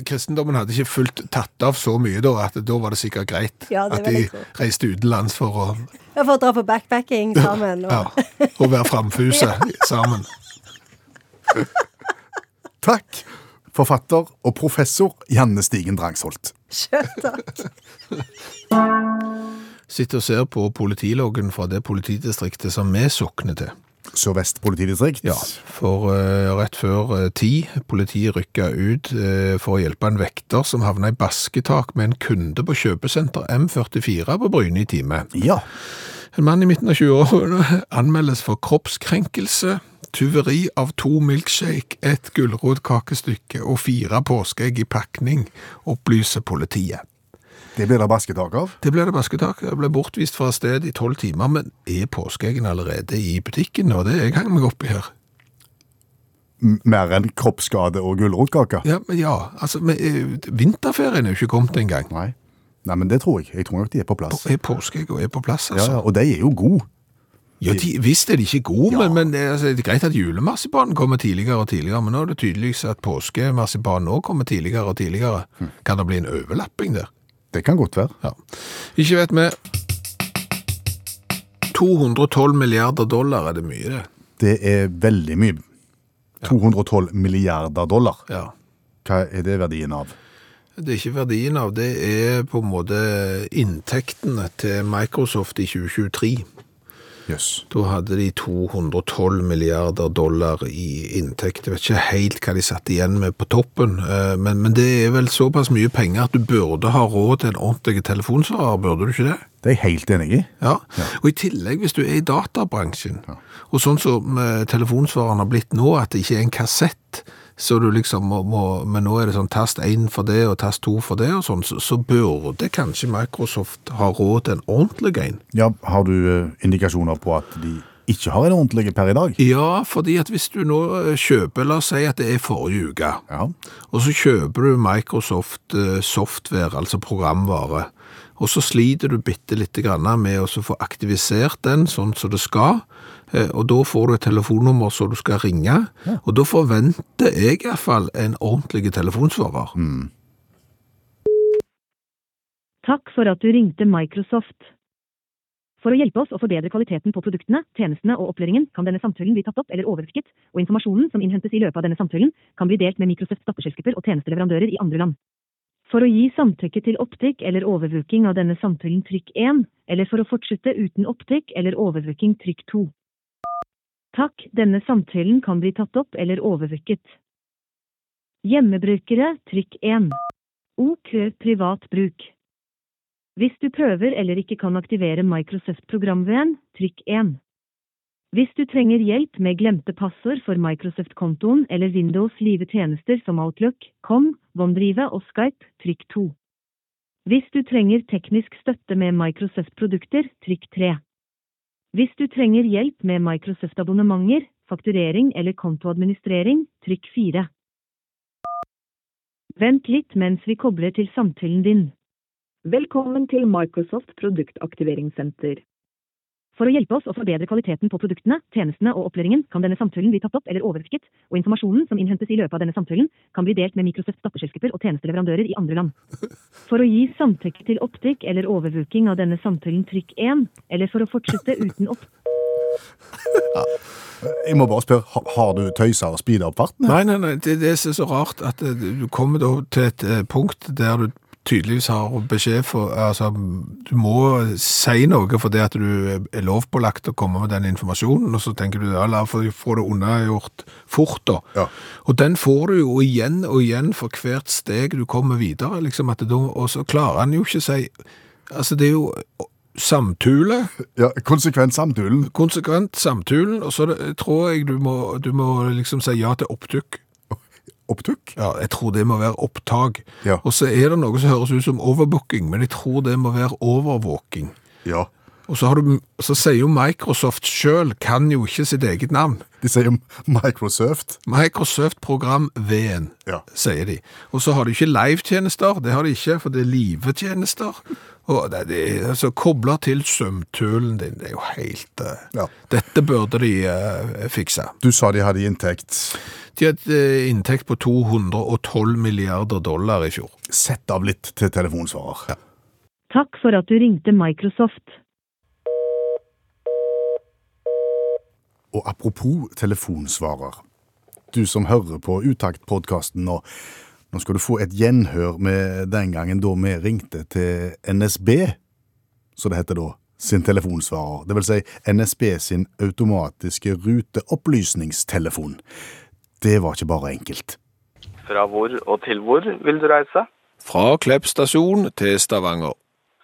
Speaker 2: Kristendommen hadde ikke fullt tatt av så mye da, at da var det sikkert greit
Speaker 8: Ja, det
Speaker 2: at
Speaker 8: vil
Speaker 2: de
Speaker 8: jeg tro.
Speaker 2: reiste utenlands for å,
Speaker 8: Ja, For å dra på backpacking sammen.
Speaker 2: ja,
Speaker 8: Og.
Speaker 2: å være framfuset sammen.
Speaker 3: Takk, forfatter og professor Janne Stigen Drangsholt.
Speaker 8: Skjønt, takk.
Speaker 2: Sitter og ser på politiloggen fra det politidistriktet som vi sokner til.
Speaker 3: Sør-Vest politidistrikt.
Speaker 2: Ja, for eh, rett før eh, ti, politiet rykka ut eh, for å hjelpe en vekter som havna i basketak med en kunde på kjøpesenter M44 på Bryne i time.
Speaker 3: Ja.
Speaker 2: En mann i midten av 20-årene anmeldes for kroppskrenkelse, tyveri av to milkshake, et gulrotkakestykke og fire påskeegg i pakning, opplyser politiet.
Speaker 3: Det blir det basketak av.
Speaker 2: Det ble det basketak. Jeg ble bortvist fra stedet i tolv timer, men er påskeeggen allerede i butikken? Og det jeg hang meg oppi her.
Speaker 3: M- Mer enn kroppsskade og gulrotkake.
Speaker 2: Ja, men ja, altså, men, eh, vinterferien er jo ikke kommet engang.
Speaker 3: Nei. Nei, men det tror jeg. Jeg tror nok de er på plass.
Speaker 2: Er påskeegg og er på plass,
Speaker 3: Ja,
Speaker 2: altså.
Speaker 3: ja, Og de er jo gode.
Speaker 2: Ja, de, Visst er de ikke gode, men, men det, er- altså, det er greit at julemarsipanen kommer tidligere og tidligere, men nå er det tydeligvis at påskemarsipanen også kommer tidligere og tidligere. Kan det bli en overlapping der?
Speaker 3: Det kan godt være.
Speaker 2: Ja. Ikke vet vi. 212 milliarder dollar er det mye, det.
Speaker 3: Det er veldig mye. 212 milliarder dollar.
Speaker 2: Ja.
Speaker 3: Hva er det verdien av?
Speaker 2: Det er ikke verdien av, det er på en måte inntektene til Microsoft i 2023.
Speaker 3: Jøss.
Speaker 2: Da hadde de 212 milliarder dollar i inntekt. Jeg vet ikke helt hva de satt igjen med på toppen, eh, men, men det er vel såpass mye penger at du burde ha råd til en ordentlig telefonsvarer, burde du ikke det?
Speaker 3: Det er jeg helt enig i.
Speaker 2: Ja. Og i tillegg, hvis du er i databransjen, og sånn som eh, telefonsvareren har blitt nå, at det ikke er en kassett, så du liksom må, må Men nå er det sånn tast én for det, og tast to for det, og sånn, så, så burde kanskje Microsoft ha råd til en ordentlig en.
Speaker 3: Ja, Har du eh, indikasjoner på at de ikke har en ordentlig per i dag?
Speaker 2: Ja, fordi at hvis du nå eh, kjøper, la oss si at det er forrige uke,
Speaker 3: Ja.
Speaker 2: og så kjøper du Microsoft eh, software, altså programvare, og så sliter du bitte litt grann med å så få aktivisert den sånn som det skal, eh, og da får du et telefonnummer som du skal ringe, og da forventer jeg i hvert fall en ordentlig telefonsvarer.
Speaker 7: Takk for at du ringte Microsoft. For å hjelpe oss å forbedre kvaliteten på produktene, tjenestene og opplæringen, kan denne samtalen bli tatt opp eller overrasket, og informasjonen som innhentes i løpet av denne samtalen, kan bli delt med Microsofts datterselskaper og tjenesteleverandører i andre land. For å gi samtykke til opptikk eller overvåking av denne samtalen, trykk 1, eller for å fortsette uten opptikk eller overvåking, trykk 2. Takk, denne samtalen kan bli tatt opp eller overvåket. Hjemmebrukere, trykk 1. OK, privat bruk. Hvis du prøver eller ikke kan aktivere Microsoft-programveien, trykk 1. Hvis du trenger hjelp med glemte passord for Microsoft-kontoen eller Windows live tjenester som Outlook, Com, OneDrive og Skype, trykk 2. Hvis du trenger teknisk støtte med Microsoft-produkter, trykk 3. Hvis du trenger hjelp med Microsoft-abonnementer, fakturering eller kontoadministrering, trykk 4. Vent litt mens vi kobler til samtalen din. Velkommen til Microsoft produktaktiveringssenter. For å hjelpe oss å forbedre kvaliteten på produktene, tjenestene og opplæringen, kan denne samtalen bli tatt opp eller overrasket, og informasjonen som innhentes i løpet av denne samtalen, kan bli delt med Microsofts datterselskaper og tjenesteleverandører i andre land. For å gi samtykke til opptikk eller overvåking av denne samtalen, trykk 1, eller for å fortsette uten opp...
Speaker 3: Jeg må bare spørre, ha- har du tøysa og speeda opp farten?
Speaker 2: Nei, nei, nei, det, det er så rart at eh, du kommer da til et eh, punkt der du tydeligvis har beskjed for altså, Du må eh, si noe fordi at du er lovpålagt å komme med den informasjonen, og så tenker du ja, la få få det unnagjort fort, da.
Speaker 3: Ja.
Speaker 2: Og den får du jo igjen og igjen for hvert steg du kommer videre, liksom at da Og så klarer han jo ikke å si Altså, det er jo samtule,
Speaker 3: Ja, konsekvent samtulen.
Speaker 2: konsekvent samtulen, og så er det- tror jeg du må, du må liksom si ja til oppdukk.
Speaker 3: Opptukk.
Speaker 2: Ja, jeg tror det må være opptak.
Speaker 3: Ja.
Speaker 2: Og så er det noe som høres ut som overbooking, men jeg tror det må være overvåking.
Speaker 3: Ja.
Speaker 2: Og så, har du, så sier jo Microsoft sjøl, kan jo ikke sitt eget navn.
Speaker 3: De sier jo Microsoft.
Speaker 2: Microsoft Program V-en,
Speaker 3: Ja.
Speaker 2: sier de. Og så har de ikke live-tjenester, det har de ikke, for det er live-tjenester. Og det, det er altså kobler til sømtølen din, det er jo helt eh,
Speaker 3: Ja.
Speaker 2: Dette burde de eh, fikse.
Speaker 3: Du sa de hadde inntekt.
Speaker 2: De hadde eh, inntekt på 212 milliarder dollar i fjor.
Speaker 3: Sett av litt til telefonsvarer.
Speaker 7: Takk for at du ringte Microsoft.
Speaker 3: Og apropos telefonsvarer. Du som hører på Utakt-podkasten nå, nå skal du få et gjenhør med den gangen da vi ringte til NSB, så det heter da, sin telefonsvarer. Det vil si NSB sin automatiske ruteopplysningstelefon. Det var ikke bare enkelt.
Speaker 1: Fra hvor og til hvor vil du reise?
Speaker 2: Fra Klepp stasjon til Stavanger.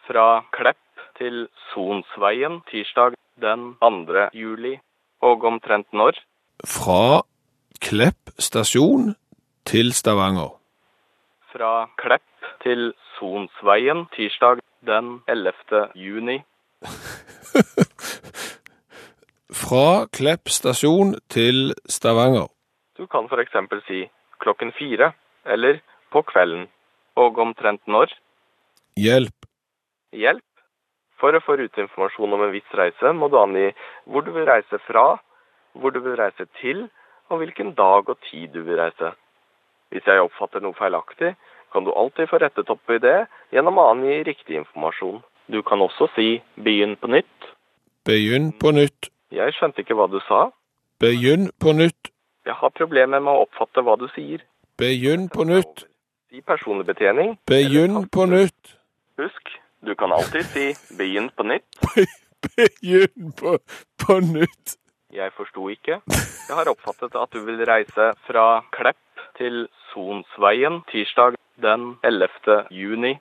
Speaker 1: Fra Klepp til Sonsveien tirsdag den 2. juli. Og omtrent når?
Speaker 2: Fra Klepp stasjon til Stavanger.
Speaker 1: Fra Klepp til Sonsveien tirsdag den 11. juni.
Speaker 2: Fra Klepp stasjon til Stavanger.
Speaker 1: Du kan for eksempel si klokken fire, eller på kvelden. Og omtrent når?
Speaker 2: Hjelp.
Speaker 1: Hjelp. For å få ruteinformasjon om en viss reise, må du angi hvor du vil reise fra, hvor du vil reise til, og hvilken dag og tid du vil reise. Hvis jeg oppfatter noe feilaktig, kan du alltid få rettet opp i det gjennom å angi riktig informasjon. Du kan også si 'begynn på nytt'.
Speaker 2: Begynn på nytt.
Speaker 1: Jeg skjønte ikke hva du sa.
Speaker 2: Begynn på nytt.
Speaker 1: Jeg har problemer med å oppfatte hva du sier.
Speaker 2: Begynn på nytt.
Speaker 1: Si personlig betjening. eller
Speaker 2: Begynn
Speaker 1: tast-
Speaker 2: på nytt.
Speaker 1: Husk, du kan alltid si 'begynn på nytt'.
Speaker 2: Begynn på, på nytt.
Speaker 1: Jeg forsto ikke. Jeg har oppfattet at du vil reise fra Klepp til Sonsveien tirsdag den 11. juni.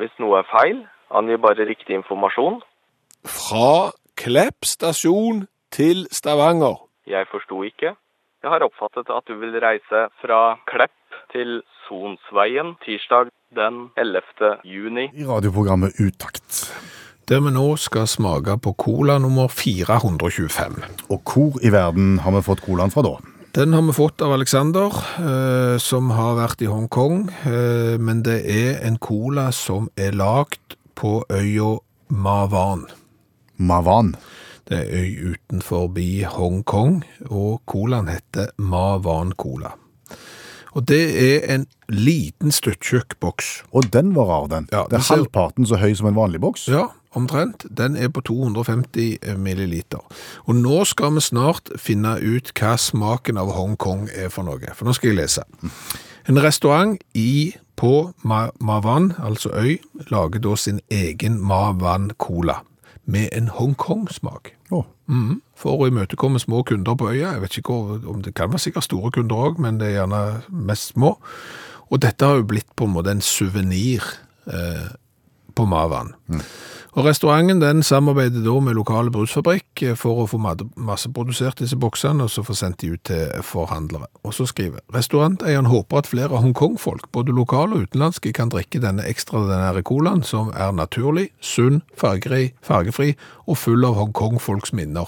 Speaker 1: Hvis noe er feil, angir bare riktig informasjon.
Speaker 2: Fra Klepp stasjon til Stavanger.
Speaker 1: Jeg forsto ikke. Jeg har oppfattet at du vil reise fra Klepp til Sonsveien tirsdag den 11. juni.
Speaker 3: I radioprogrammet Utakt.
Speaker 2: Der vi nå skal smake på cola nummer 425.
Speaker 3: Og hvor i verden har vi fått colaen fra da?
Speaker 2: Den har vi fått av Alexander, eh, som har vært i Hongkong. Eh, men det er en cola som er lagd på øya Mavan.
Speaker 3: Mavan.
Speaker 2: Det er øy utenfor bi Hongkong, og colaen heter Mavan Cola. Og det er en liten støttkjøkk boks.
Speaker 3: Og den var rar, den.
Speaker 2: Ja,
Speaker 3: det
Speaker 2: den
Speaker 3: er
Speaker 2: ser-
Speaker 3: halvparten så høy som en vanlig boks.
Speaker 2: Ja, omtrent. Den er på 250 milliliter. Og nå skal vi snart finne ut hva smaken av Hongkong er for noe. For nå skal jeg lese. En restaurant i på Ma Mavan, altså øy, lager da sin egen Mavan Cola med en Hongkong-smak.
Speaker 3: Å,
Speaker 2: Mhm. For å imøtekomme små kunder på øya. Jeg vet ikke hvor- om det kan være sikkert store kunder òg, men det er gjerne mest små. Og dette har jo blitt på en måte en suvenir eh, på Mavan. Og restauranten den samarbeider da med lokale brusfabrikk eh, for å få mad- masseprodusert disse boksene, og så få sendt de ut til forhandlere. Og så skriver restauranteieren håper at flere Hongkong-folk, både lokale og utenlandske, kan drikke denne ekstraordinære colaen, som er naturlig, sunn, fargerig, fargefri og full av Hongkong-folks minner.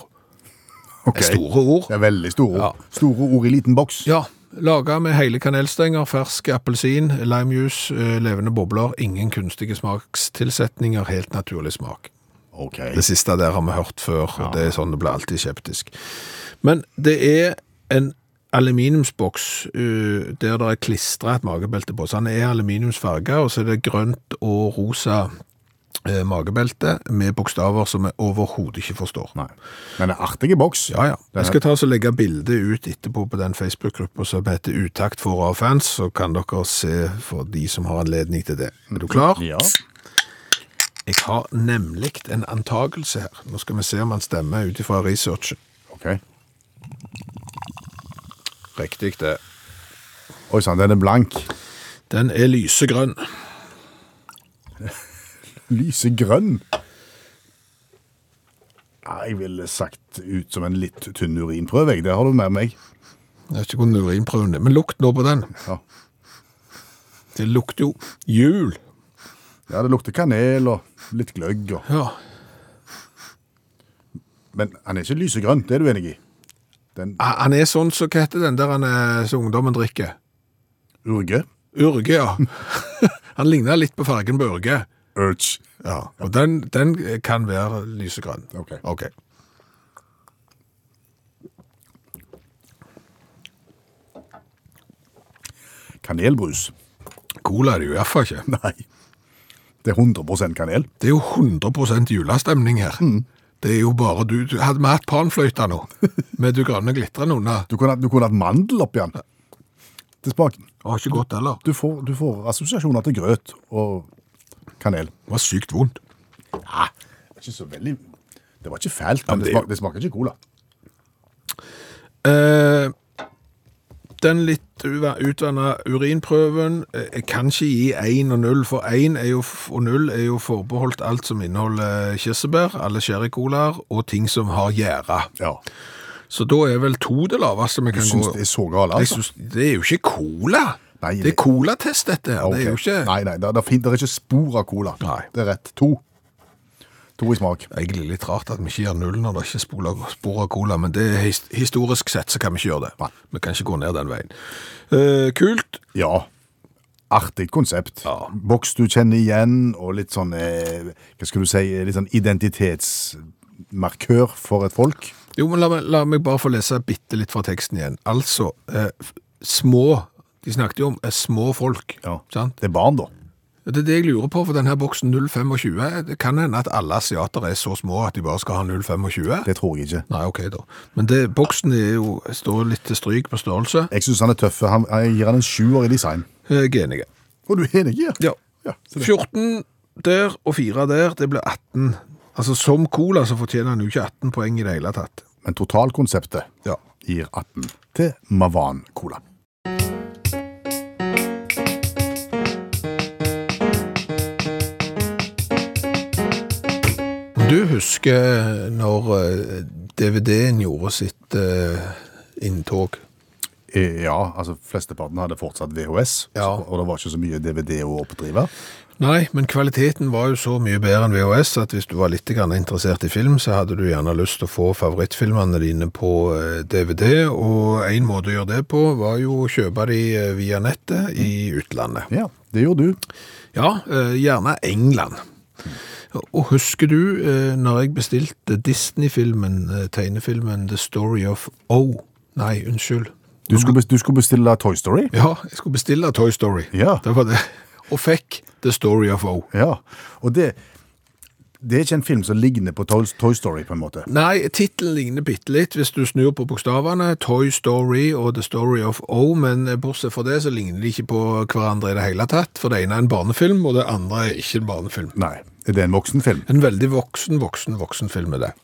Speaker 3: ok.
Speaker 2: Det er store ord.
Speaker 3: Det er veldig store
Speaker 2: Ja.
Speaker 3: ord. Store ord i liten boks.
Speaker 2: Ja, laga med hele kanelstenger, fersk appelsin, limejuice, eh, levende bobler, ingen kunstige smakstilsetninger, helt naturlig smak.
Speaker 3: Ok.
Speaker 2: Det siste der har vi hørt før, og det er sånn det blir alltid skeptisk. Men det er en aluminiumsboks uh, der det er klistra et magebelte på. Så den er aluminiumsfarga, og så er det grønt og rosa eh, magebelte med bokstaver som jeg overhodet ikke forstår.
Speaker 3: Nei. Men det er artig i boks.
Speaker 2: Ja, ja. Jeg skal ta og legge bildet ut etterpå på den Facebook-gruppa som heter Utakt for A-fans, så kan dere se for de som har anledning til det. Er du klar?
Speaker 3: Ja.
Speaker 2: Jeg har nemlig en antakelse her. Nå skal vi se om han stemmer ut ifra researchen.
Speaker 3: Ok.
Speaker 2: Riktig det.
Speaker 3: Oi sann, den er blank.
Speaker 2: Den er lysegrønn.
Speaker 3: Lysegrønn. Ja, jeg ville sagt ut som en litt tynn urinprøve. jeg. Det har du med meg.
Speaker 2: Jeg vet ikke hvordan urinprøven er, men lukt nå på den.
Speaker 3: Ja.
Speaker 2: Det lukter jo jul.
Speaker 3: Ja, Det lukter kanel og litt gløgg. Og.
Speaker 2: Ja.
Speaker 3: Men han er ikke lysegrønn, det er du enig i? Den
Speaker 2: Ah, Han er sånn som hva heter den der han er, som ungdommen drikker?
Speaker 3: urge?
Speaker 2: Urge, ja. han ligner litt på fargen på urge.
Speaker 3: Urge.
Speaker 2: Ja, og den, den kan være lysegrønn.
Speaker 3: Ok.
Speaker 2: Ok.
Speaker 3: Kanelbrus.
Speaker 2: Cola er det jo i hvert fall ikke.
Speaker 3: Nei. Det er 100 kanel.
Speaker 2: Det er jo 100 julestemning her.
Speaker 3: Mm.
Speaker 2: Det er jo bare du, du Hadde vi hatt panfløyta nå, med du grønne glitrende under
Speaker 3: Du kunne, hatt- du kunne hatt mandel oppi den. Til smaken.
Speaker 2: Var ikke godt heller.
Speaker 3: Du får, du får assosiasjoner til grøt og kanel.
Speaker 2: Det var sykt vondt.
Speaker 3: Ja, det er ikke så veldig Det var ikke fælt,
Speaker 2: Ja,
Speaker 3: men
Speaker 2: det er jo-
Speaker 3: det, smak, det smaker ikke cola.
Speaker 2: Eh, den litt uva- utvanna urinprøven eh, Jeg kan ikke gi 1 og 0, for 1 er jo, f- og 0 er jo forbeholdt alt som inneholder kirsebær, alle sherrycolaer og ting som har gjære.
Speaker 3: Ja.
Speaker 2: Så da er vel to det laveste vi
Speaker 3: Du
Speaker 2: kan
Speaker 3: syns
Speaker 2: gå
Speaker 3: det er så galt,
Speaker 2: Jeg
Speaker 3: altså?
Speaker 2: synes, Det er jo ikke cola!
Speaker 3: Nei,
Speaker 2: det
Speaker 3: det-
Speaker 2: er colatest, dette her. Det er jo
Speaker 3: Ok.
Speaker 2: ikke
Speaker 3: Nei, nei, det, det, er fint, det er ikke spor av cola.
Speaker 2: Nei.
Speaker 3: Det er rett. To. To i smak.
Speaker 2: Egentlig litt rart at vi ikke gir null når det ikke er spoler- spor av cola, men det er his historisk sett så kan vi ikke gjøre det.
Speaker 3: Nei.
Speaker 2: Vi kan ikke gå ned den veien. Eh, kult.
Speaker 3: Ja. Artig konsept.
Speaker 2: Ja.
Speaker 3: Boks du kjenner igjen, og litt sånn eh, Hva skal du si Litt sånn identitetsmarkør for et folk.
Speaker 2: Jo, men la, meg- la meg bare få lese bitte litt fra teksten igjen. Altså, eh, f- små De snakket jo om eh, små folk.
Speaker 3: Ja.
Speaker 2: Sant?
Speaker 3: Det er barn, da.
Speaker 2: Det er det jeg lurer på, for denne boksen 025 Det kan hende at alle asiater er så små at de bare skal ha 025.
Speaker 3: Det tror jeg ikke.
Speaker 2: Nei, OK, da. Men det, boksen er jo, står litt til stryk på størrelse.
Speaker 3: Jeg syns han er tøff. Han, jeg gir han en sjuer i design.
Speaker 2: Eh, Jeg er enig.
Speaker 3: Og du er enig? Ja.
Speaker 2: Ja.
Speaker 3: Ja, så det-
Speaker 2: 14 der og 4 der, det blir 18. Altså Som cola så fortjener han jo ikke 18 poeng i det hele tatt.
Speaker 3: Men totalkonseptet
Speaker 2: Ja.
Speaker 3: gir 18 til Mavan Cola.
Speaker 2: Du husker når eh, DVD-en gjorde sitt eh, inntog?
Speaker 3: Eh, Ja, altså flesteparten hadde fortsatt VHS,
Speaker 2: Ja.
Speaker 3: så- og det var ikke så mye DVD å oppdrive.
Speaker 2: Nei, men kvaliteten var jo så mye bedre enn VHS at hvis du var litt grann interessert i film, så hadde du gjerne lyst til å få favorittfilmene dine på eh, DVD, og en måte å gjøre det på var jo å kjøpe de eh, via nettet i utlandet.
Speaker 3: Ja, det gjorde du.
Speaker 2: Ja, eh, gjerne England. Og husker du eh, når jeg bestilte Disney-filmen, eh, tegnefilmen The Story of O? Nei, unnskyld.
Speaker 3: Du skulle, bes- du skulle bestille Toy Story?
Speaker 2: Ja, jeg skulle bestille Toy Story.
Speaker 3: Ja.
Speaker 2: Det var det. Og fikk The Story of O.
Speaker 3: Ja, og det, det er ikke en film som ligner på Toy, Toy Story på en måte.
Speaker 2: Nei, tittelen ligner bitte litt hvis du snur på bokstavene. Toy Story og The Story of O, men eh, bortsett fra det så ligner de ikke på hverandre i det hele tatt. For det ene er en barnefilm, og det andre er ikke en barnefilm.
Speaker 3: Nei, er det en voksenfilm?
Speaker 2: En veldig voksen, voksen, voksen film er det.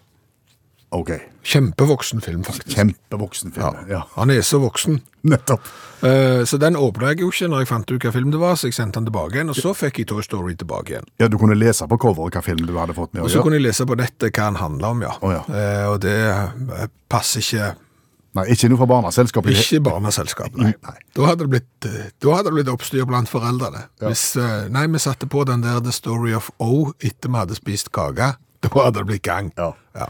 Speaker 3: Ok,
Speaker 2: Kjempevoksen film, faktisk.
Speaker 3: kjempevoksenfilm. Ja.
Speaker 2: Han er så voksen.
Speaker 3: nettopp.
Speaker 2: Eh, Så den åpna jeg jo ikke når jeg fant ut hva film det var, så jeg sendte den tilbake igjen. Og så fikk jeg Toy Story tilbake igjen.
Speaker 3: Ja, du kunne lese på coveret hva film du hadde fått med å
Speaker 2: Og så
Speaker 3: gjøre.
Speaker 2: kunne jeg lese på nettet hva den handla om, ja.
Speaker 3: Å, ja.
Speaker 2: Eh, Og det eh, passer ikke
Speaker 3: Nei, ikke noe fra barneselskapet.
Speaker 2: Ikke barneselskap, nei. Da hadde det blitt, eh, da hadde det blitt oppstyr blant foreldrene. Hvis eh, Nei, vi satte på den der The Story of O etter vi hadde spist kake. Da hadde det blitt gang.
Speaker 3: Ja.
Speaker 2: Ja.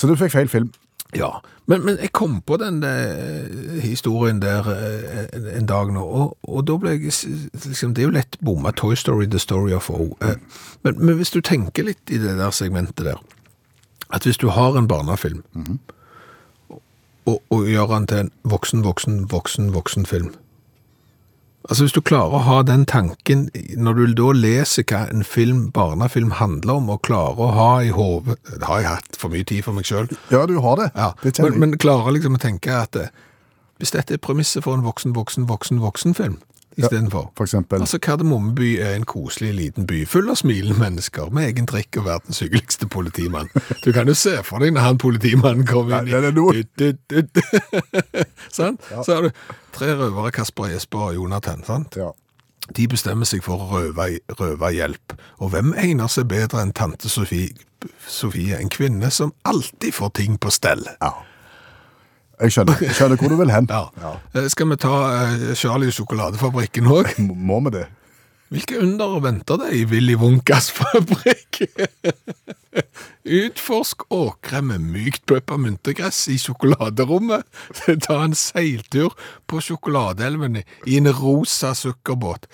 Speaker 3: Så du fikk feil film.
Speaker 2: Ja, men, men jeg kom på den eh, historien der eh, en, en dag nå, og, og da ble jeg s- liksom, det er jo lett bomma Toy Story, The Story of O. Eh, men, men hvis du tenker litt i det der segmentet der, at hvis du har en barnefilm, og, og gjør den til en voksen, voksen, voksen, voksen film, Altså Hvis du klarer å ha den tanken i- når du da leser hva en film, barnefilm handler om, og klarer å ha i hodet Det har jeg hatt for mye tid for meg sjøl.
Speaker 3: Ja, du har det.
Speaker 2: Ja.
Speaker 3: det kjenner
Speaker 2: Men,
Speaker 3: jeg.
Speaker 2: men klarer liksom å tenke at eh, hvis dette er premisset for en voksen, voksen, voksen voksenfilm istedenfor
Speaker 3: For eksempel.
Speaker 2: Altså, Kardemommeby er en koselig liten by full av smilende mennesker med egen drikk og verdens hyggeligste politimann. Du kan jo se for deg når han politimannen kommer inn
Speaker 3: Nei, det er noe.
Speaker 2: i Dut, dut, dut. Sant? Så har du tre røvere, Kasper, Jesper og Jonathan. sant?
Speaker 3: ja.
Speaker 2: De bestemmer seg for å røve, røve hjelp. Og hvem egner seg bedre enn tante Sofie, Sofie, en kvinne som alltid får ting på stell?
Speaker 3: Jeg skjønner. Jeg skjønner hvor du vil hen.
Speaker 2: Ja. Eh, Skal vi ta eh, Charlie og sjokoladefabrikken òg?
Speaker 3: M- Må vi det?
Speaker 2: Hvilke under venter deg i Willy Wonkas fabrikk? Utforsk åkre med mykt peppermyntegress i sjokoladerommet. Ta en seiltur på sjokoladeelven i en rosa sukkerbåt.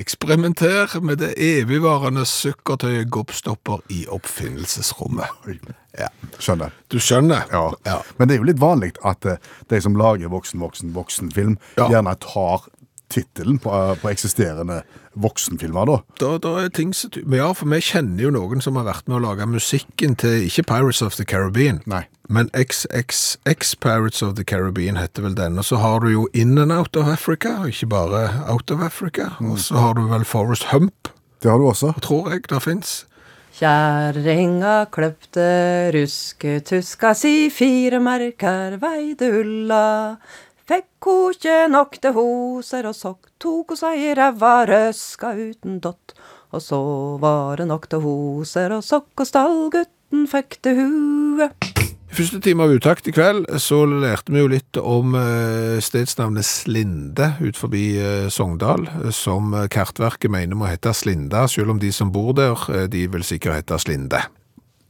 Speaker 2: Eksperimenter med det evigvarende sukkertøyet Gobstopper i oppfinnelsesrommet. Ja.
Speaker 3: Skjønner.
Speaker 2: Du skjønner?
Speaker 3: Ja.
Speaker 2: ja.
Speaker 3: Men det er jo litt vanlig at eh, de som lager voksen, voksen, voksenfilm,
Speaker 2: Ja.
Speaker 3: gjerne tar tittelen på, eh, på eksisterende voksenfilmer, da.
Speaker 2: Da, da er ting så ty- Men Ja, for vi kjenner jo noen som har vært med å lage musikken til ikke Pirates of the Caribbean.
Speaker 3: Nei.
Speaker 2: Men XXX Pirates of the Caribbean heter vel den. Og så har du jo In and Out of Africa, og ikke bare Out of Africa. Og så har du vel Forest Hump,
Speaker 3: Det har du også.
Speaker 2: tror jeg det fins.
Speaker 9: Kjerringa kløpte rusketuska si, fire merker veide ulla. Fekk ho ikkje nok til hoser og sokk, tok ho seg i ræva, røska uten dott. Og så var det nok til hoser og sokk, og stallgutten fikk til huet.
Speaker 2: I første time av Utakt i kveld så lærte vi jo litt om eh, stedsnavnet Slinde ut forbi eh, Sogndal, eh, som eh, Kartverket mener må hete Slinda, selv om de som bor der, eh, de vil sikkert hete Slinde.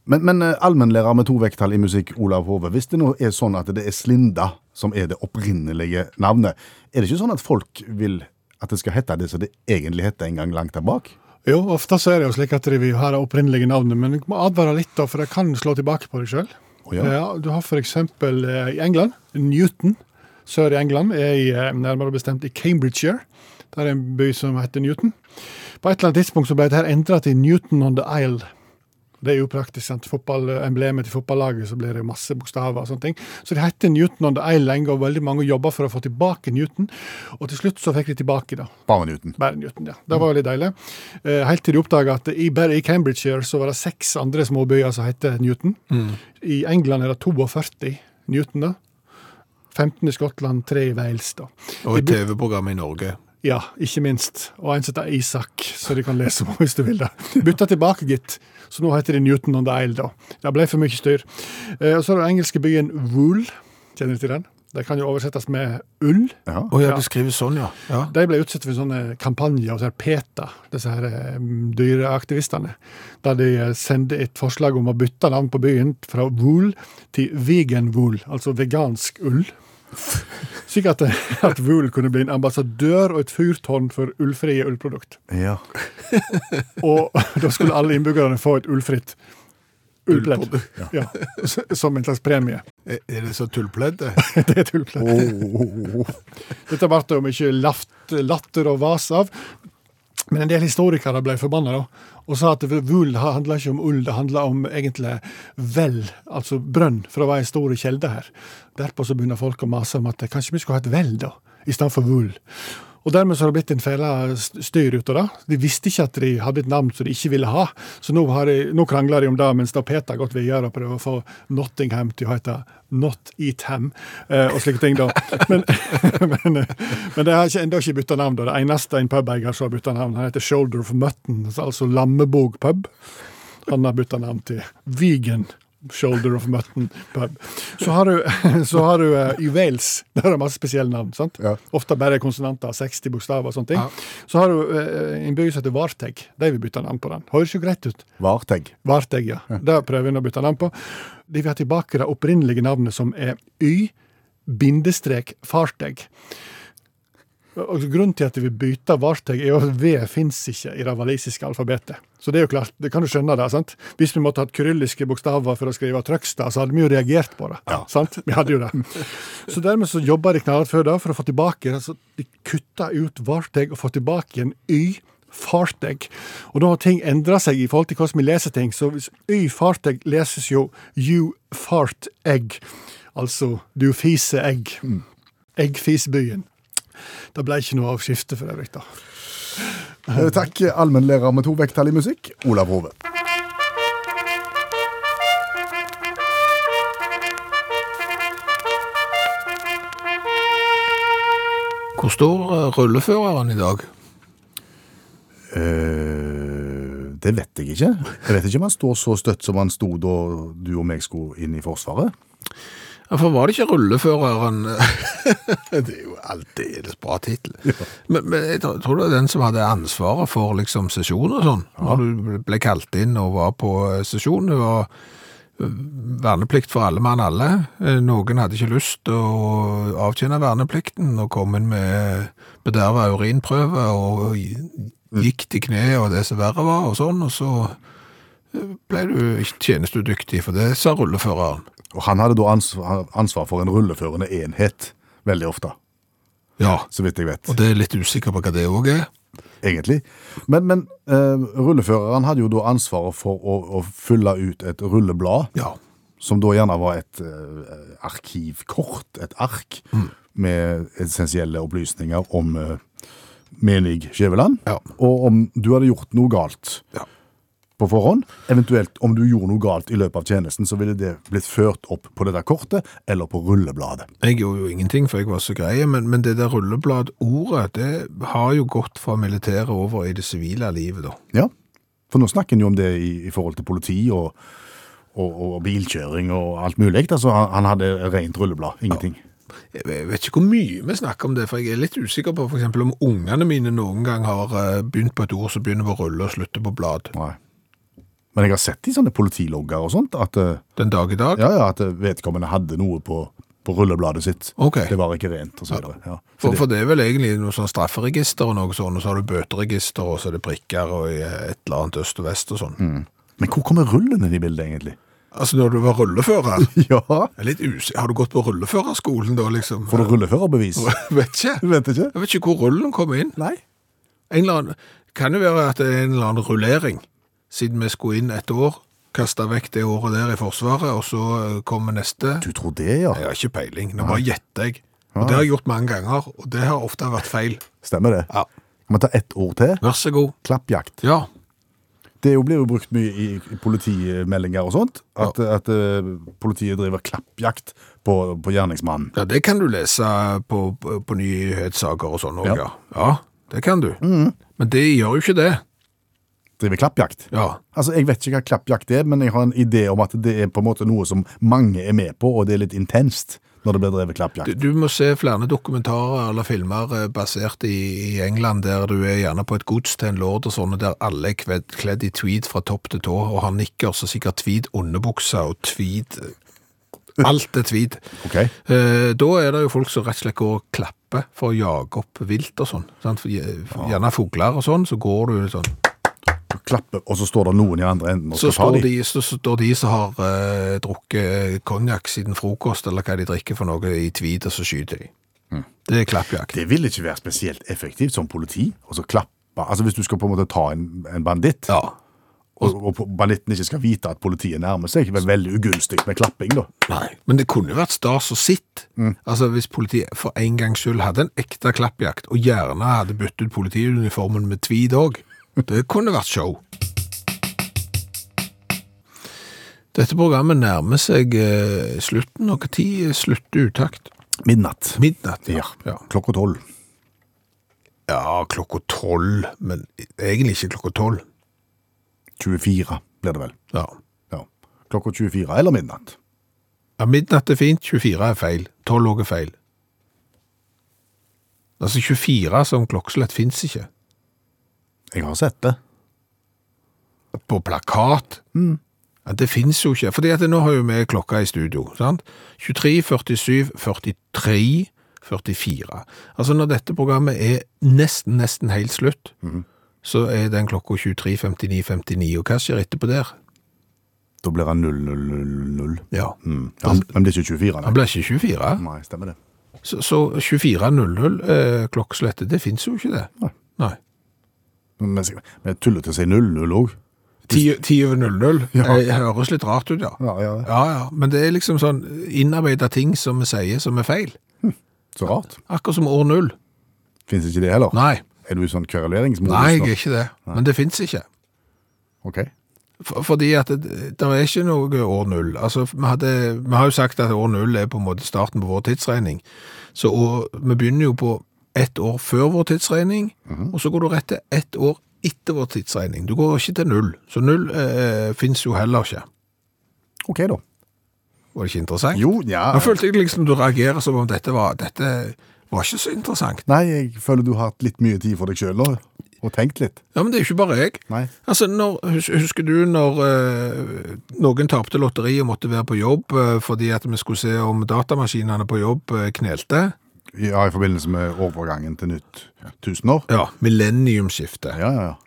Speaker 3: Men, men eh, allmennlærer med to vekttall i musikk, Olav Hove, hvis det nå er sånn at det er Slinda som er det opprinnelige navnet, er det ikke sånn at folk vil at det skal hete det som det egentlig heter en gang langt der bak?
Speaker 5: Jo, ofte så er det jo slik at vi har det opprinnelige navnet, men du må advare litt, da, for det kan slå tilbake på deg sjøl.
Speaker 3: Å
Speaker 5: Ja. du har for eksempel eh, i England, Newton, sør i England, er i, eh, nærmere bestemt i Cambridgeshire. Der er en by som heter Newton. På et eller annet tidspunkt så ble det her endra til Newton on the Isle. Det er jo praktisk, sant? Fotball, eh, emblemet til fotballaget, så blir det jo masse bokstaver og sånne ting. Så det heter Newton on the Isle lenge, og veldig mange jobba for å få tilbake Newton. Og til slutt så fikk de tilbake, da.
Speaker 3: Bare Newton.
Speaker 5: Bare Newton, ja. Det var jo litt deilig. Eh, Helt til de oppdaga at i, bare i Cambridgeshire så var det seks andre småbyer som heter Newton. I England er det 42 Newton, da. 15 i Skottland, 3 i Wales, da.
Speaker 2: Og et TV-program i Norge.
Speaker 5: Ja, ikke minst. Og en som heter Isak, så de kan lese om hvis du vil det. Bytta tilbake, gitt. Så nå heter de Newton on the Isle, da. Det ble for mye styr. Eh, Og så er det den engelske byen Wool. Kjenner du til den? Det kan jo oversettes med ull.
Speaker 3: Ja.
Speaker 2: Å ja, det skrives sånn, ja. ja.
Speaker 5: De ble utsatt for sånne kampanjer hos PETA, disse her eh, dyreaktivistene, der de eh, sendte et forslag om å bytte navn på byen fra wool til vegan wool, altså vegansk ull. Slik at, eh, at Wool kunne bli en ambassadør og et fyrtårn for ullfrie ullprodukt.
Speaker 3: Ja.
Speaker 5: Og da skulle alle innbyggerne få et ullfritt ullpledd. Ja, s- som en slags premie.
Speaker 2: Er er det så tullpledd? det?
Speaker 5: Det er et ullpledd.
Speaker 3: Oh, oh, oh, oh.
Speaker 5: Dette ble det jo mye laft, latter og vas av. Men en del historikere ble forbanna da, og sa at vull handla ikke om ull, det handla om egentlig vel, altså brønn, for det var en stor kjelde her. Derpå så begynner folk å mase om at eh, kanskje vi skulle ha et vel, da, istedenfor vull. Og dermed så har det blitt en fæle st- styr ut av det. De visste ikke at de hadde et navn som de ikke ville ha, så nå, har de, nå krangler de om det, mens da Peter har gått videre og prøver å få Nottingham til å hete Not Eat Ham, eh, og slike ting, da. Men, men, eh, men det har ikke, enda ikke bytta navn, da. Det eneste en pubeier som har bytta navn, han heter Shoulder of Mutton, altså Lammebog pub. Han har bytta navn til Vegan Shoulder of Mutton pub. Så har du, så har du eh, i Wales Der er det masse spesielle navn. sant?
Speaker 3: Ja.
Speaker 5: Ofte bare konsonanter, 60 bokstaver og sånne ting. Så har du eh, en by som heter Varteg. De vil bytte navn på den. Høres jo greit ut.
Speaker 3: Varteg.
Speaker 5: Varteg, ja. Det prøver en å bytte navn på. De vil ha tilbake det opprinnelige navnet, som er Y-farteg. Og grunnen til at vi bytter varteg, er jo at V fins ikke i det walisiske alfabetet. Så det er jo klart, det kan du skjønne det, sant? Hvis vi måtte hatt kyrilliske bokstaver for å skrive Trøgstad, så hadde vi jo reagert på det. Sant? Vi hadde jo det. Så dermed så jobba de knallhardt før det, for å få tilbake altså, De kutta ut varteg og få tilbake en Y. Farteg. Og da har ting endra seg i forhold til hvordan vi leser ting. Så hvis Y farteg leses jo You fart egg. Altså du fiser egg. Eggfisbyen. Det ble ikke noe av skiftet for øvrig, da.
Speaker 3: Eh, Takk, allmennlærer med to vekttall i musikk, Olav Hove.
Speaker 2: Hvor står eh, rulleføreren i dag?
Speaker 3: Eh, det vet jeg ikke. Jeg vet ikke om han står så støtt som han sto da du og meg skulle inn i Forsvaret.
Speaker 2: Ja, for var det ikke rulleføreren Det er jo alltid en bra tittel. Men, men jeg tror tror det er den som hadde ansvaret for liksom sesjon og sånn. Når du ble kalt inn og var på eh, sesjon. Det var eh, verneplikt for alle mann alle. Eh, Noen hadde ikke lyst til å avtjene verneplikten og kom inn med bederva urinprøve og gikk til kne og det som verre var og sånn. Og så eh, ble du ikke tjenestedyktig, for det sa rulleføreren.
Speaker 3: Og han hadde da ansvar, ansvar for en rulleførende enhet, veldig ofte,
Speaker 2: Ja,
Speaker 3: så vidt jeg vet,
Speaker 2: Og det er litt usikker på hva det òg er.
Speaker 3: egentlig. Men, men eh, rulleføreren hadde jo da ansvaret for å, å fylle ut et rulleblad,
Speaker 2: Ja.
Speaker 3: som da gjerne var et eh, arkivkort, et ark,
Speaker 2: Mm.
Speaker 3: med essensielle opplysninger om eh, menig Skjæveland,
Speaker 2: Ja.
Speaker 3: og om du hadde gjort noe galt.
Speaker 2: Ja.
Speaker 3: på forhånd. Eventuelt om du gjorde noe galt i løpet av tjenesten, så ville det blitt ført opp på dette kortet eller på rullebladet.
Speaker 2: Jeg gjorde jo ingenting, for jeg var så grei, men, men det der rullebladordet, det har jo gått fra militæret over i det sivile livet, da.
Speaker 3: Ja, for nå snakker en jo om det i, i forhold til politi og, og, og bilkjøring og alt mulig. Altså, han, han hadde rent rulleblad, ingenting.
Speaker 2: Jeg jeg vet ikke hvor mye vi snakker om det, for jeg er litt usikker på f.eks. om ungene mine noen gang har eh, begynt på et ord som begynner på rulle og slutter på blad
Speaker 3: Nei. Men jeg har sett i sånne politilogger og sånt at, eh,
Speaker 2: den dag i dag.
Speaker 3: ja, ja, at vedkommende hadde noe på, på rullebladet sitt.
Speaker 2: Ok.
Speaker 3: Det var ikke rent, og så videre. Ja.
Speaker 2: For, for det er vel egentlig noe sånn strafferegister og noe sånn, og så har du bøteregister, og så er det prikker og eh, et eller annet øst og vest og sånn.
Speaker 3: Men hvor kommer rullen inn i bildet, egentlig?
Speaker 2: Altså når du var rullefører
Speaker 3: Ja,
Speaker 2: jeg er litt usik- Har du gått på rulleførerskolen da, liksom?
Speaker 3: får du rulleførerbevis?
Speaker 2: Vet ikke.
Speaker 3: Du vet ikke?
Speaker 2: Jeg vet ikke hvor rullen kom inn.
Speaker 3: Nei.
Speaker 2: En eller annen, kan det være at det er en eller annen rullering, siden vi skulle inn et år, kastet vekk det året der i Forsvaret, og så eh, kommer neste?
Speaker 3: Du tror det, ja?
Speaker 2: Jeg har ikke peiling, nå bare gjetter jeg. Og det har jeg gjort mange ganger, og det har ofte vært feil.
Speaker 3: Stemmer det?
Speaker 2: Ja.
Speaker 3: Kan man ta ett ord til?
Speaker 2: Vær så god.
Speaker 3: Klappjakt.
Speaker 2: Ja,
Speaker 3: Det er jo- blir jo brukt mye i i politimeldinger og sånt. At, at eh, politiet driver klappjakt på, på gjerningsmannen.
Speaker 2: ja det kan du lese på, på, på nyhetssaker og sånn også, ja. Mm. ja. det kan du. Men det gjør jo ikke det.
Speaker 3: Driver klappjakt.
Speaker 2: Ja,
Speaker 3: Altså, Jeg vet ikke hva klappjakt er, men jeg har en idé om at det er på en måte noe som mange er med på, og det er litt intenst når det blir drevet
Speaker 2: du,
Speaker 3: klappjakt.
Speaker 2: du må se flere dokumentarer eller filmer eh, basert i, i England, der du er gjerne på et gods til en lord og sånne, der alle er kved, kledd i tweed fra topp til tå, og har nikkers og sikkert tweed underbukser og tweed. eh, Alt er tweed.
Speaker 3: Ok?
Speaker 2: Eh, da er det jo folk som rett og slett går og klapper for å jage opp vilt og sånn. Sant? For- Gjerne fugler og sånn, så går du sånn.
Speaker 3: Du klapper, og så står det noen i andre enden og
Speaker 2: Så står
Speaker 3: skal ta dem.
Speaker 2: de, så så står de som har eh, drukket konjakk siden frokost, eller hva de drikker for noe i tweed, og så skyter de.
Speaker 3: Hm.
Speaker 2: Det er klappjakt.
Speaker 3: Det vil ikke være spesielt effektivt som politi å så klappe. Altså, Hvis du skal på en måte ta en, en banditt,
Speaker 2: Ja.
Speaker 3: og, og banditten ikke skal vite at politiet nærmer seg. Det er veldig ugunstig med klapping, da.
Speaker 2: Nei. Men det kunne jo vært stas å sitte. Altså Hvis politiet for en gangs skyld hadde en ekte klappjakt, og gjerne hadde byttet ut politiuniformen med tweed òg. Det kunne vært show. Dette programmet nærmer seg eh, slutten. Og når slutter utakt?
Speaker 3: Midnatt.
Speaker 2: Midnatt?
Speaker 3: Ja.
Speaker 2: ja.
Speaker 3: Klokka tolv.
Speaker 2: Ja, klokka tolv, men egentlig ikke klokka tolv.
Speaker 3: 24 blir det vel.
Speaker 2: Ja.
Speaker 3: Ja. Klokka 24 eller midnatt.
Speaker 2: ja, midnatt er fint, 24 er feil, 12 også er feil. Altså 24 som klokkeslett finnes ikke.
Speaker 3: Jeg har sett det.
Speaker 2: På plakat? Ja, det finnes jo ikke, fordi at nå har jo vi klokka i studio, sant? 23, 47, 43, 44. Altså når dette programmet er nesten, nesten helt slutt, så er den klokka 23.59.59, og hva skjer etterpå der?
Speaker 3: Da blir han 0-0-0.
Speaker 2: Ja,
Speaker 3: Mm. Ja, han, han blir ikke 24,
Speaker 2: Altså- han
Speaker 3: nei.
Speaker 2: blir ikke 24.
Speaker 3: Nei, stemmer det.
Speaker 2: Så, så 24.00 eh, klokkeslettet, det finnes jo ikke det.
Speaker 3: Nei.
Speaker 2: Nei.
Speaker 3: Men jeg- men jeg tuller til å si 0-0 òg.
Speaker 2: 10 10 over 00
Speaker 3: Ja.
Speaker 2: eh, høres litt rart ut, ja.
Speaker 3: Ja, ja.
Speaker 2: Ja, ja, men det er liksom sånn innarbeida ting som vi sier som er feil.
Speaker 3: Så rart.
Speaker 2: Akkurat som år null.
Speaker 3: Fins ikke det heller?
Speaker 2: Nei,
Speaker 3: Er du i sånn kveruleringsmodus
Speaker 2: nei, jeg
Speaker 3: nå?
Speaker 2: er ikke det. Men det fins ikke.
Speaker 3: Ok.
Speaker 2: For, fordi at det, det er ikke noe år null. Altså, vi, hadde, vi har jo sagt at år null er på en måte starten på vår tidsregning. Så og, vi begynner jo på ett år før vår tidsregning, og så går du rett til ett år etter vår tidsregning. Du går ikke til null. Så null eh, fins jo heller ikke.
Speaker 3: Ok, da.
Speaker 2: Var det ikke interessant?
Speaker 3: Jo, ja
Speaker 2: Nå følte jeg liksom du reagerer som om dette var, dette var ikke så interessant.
Speaker 3: Nei, jeg føler du har hatt litt mye tid for deg sjøl nå, og tenkt litt.
Speaker 2: Ja, men det er jo ikke bare jeg.
Speaker 3: Nei.
Speaker 2: Altså, når, hus- Husker du når eh, noen tapte lotteriet og måtte være på jobb eh, fordi at vi skulle se om datamaskinene på jobb eh, knelte?
Speaker 3: Ja, i forbindelse med overgangen til nytt tusenår.
Speaker 2: Ja, millenniumsskiftet.
Speaker 3: Ja, ja, ja.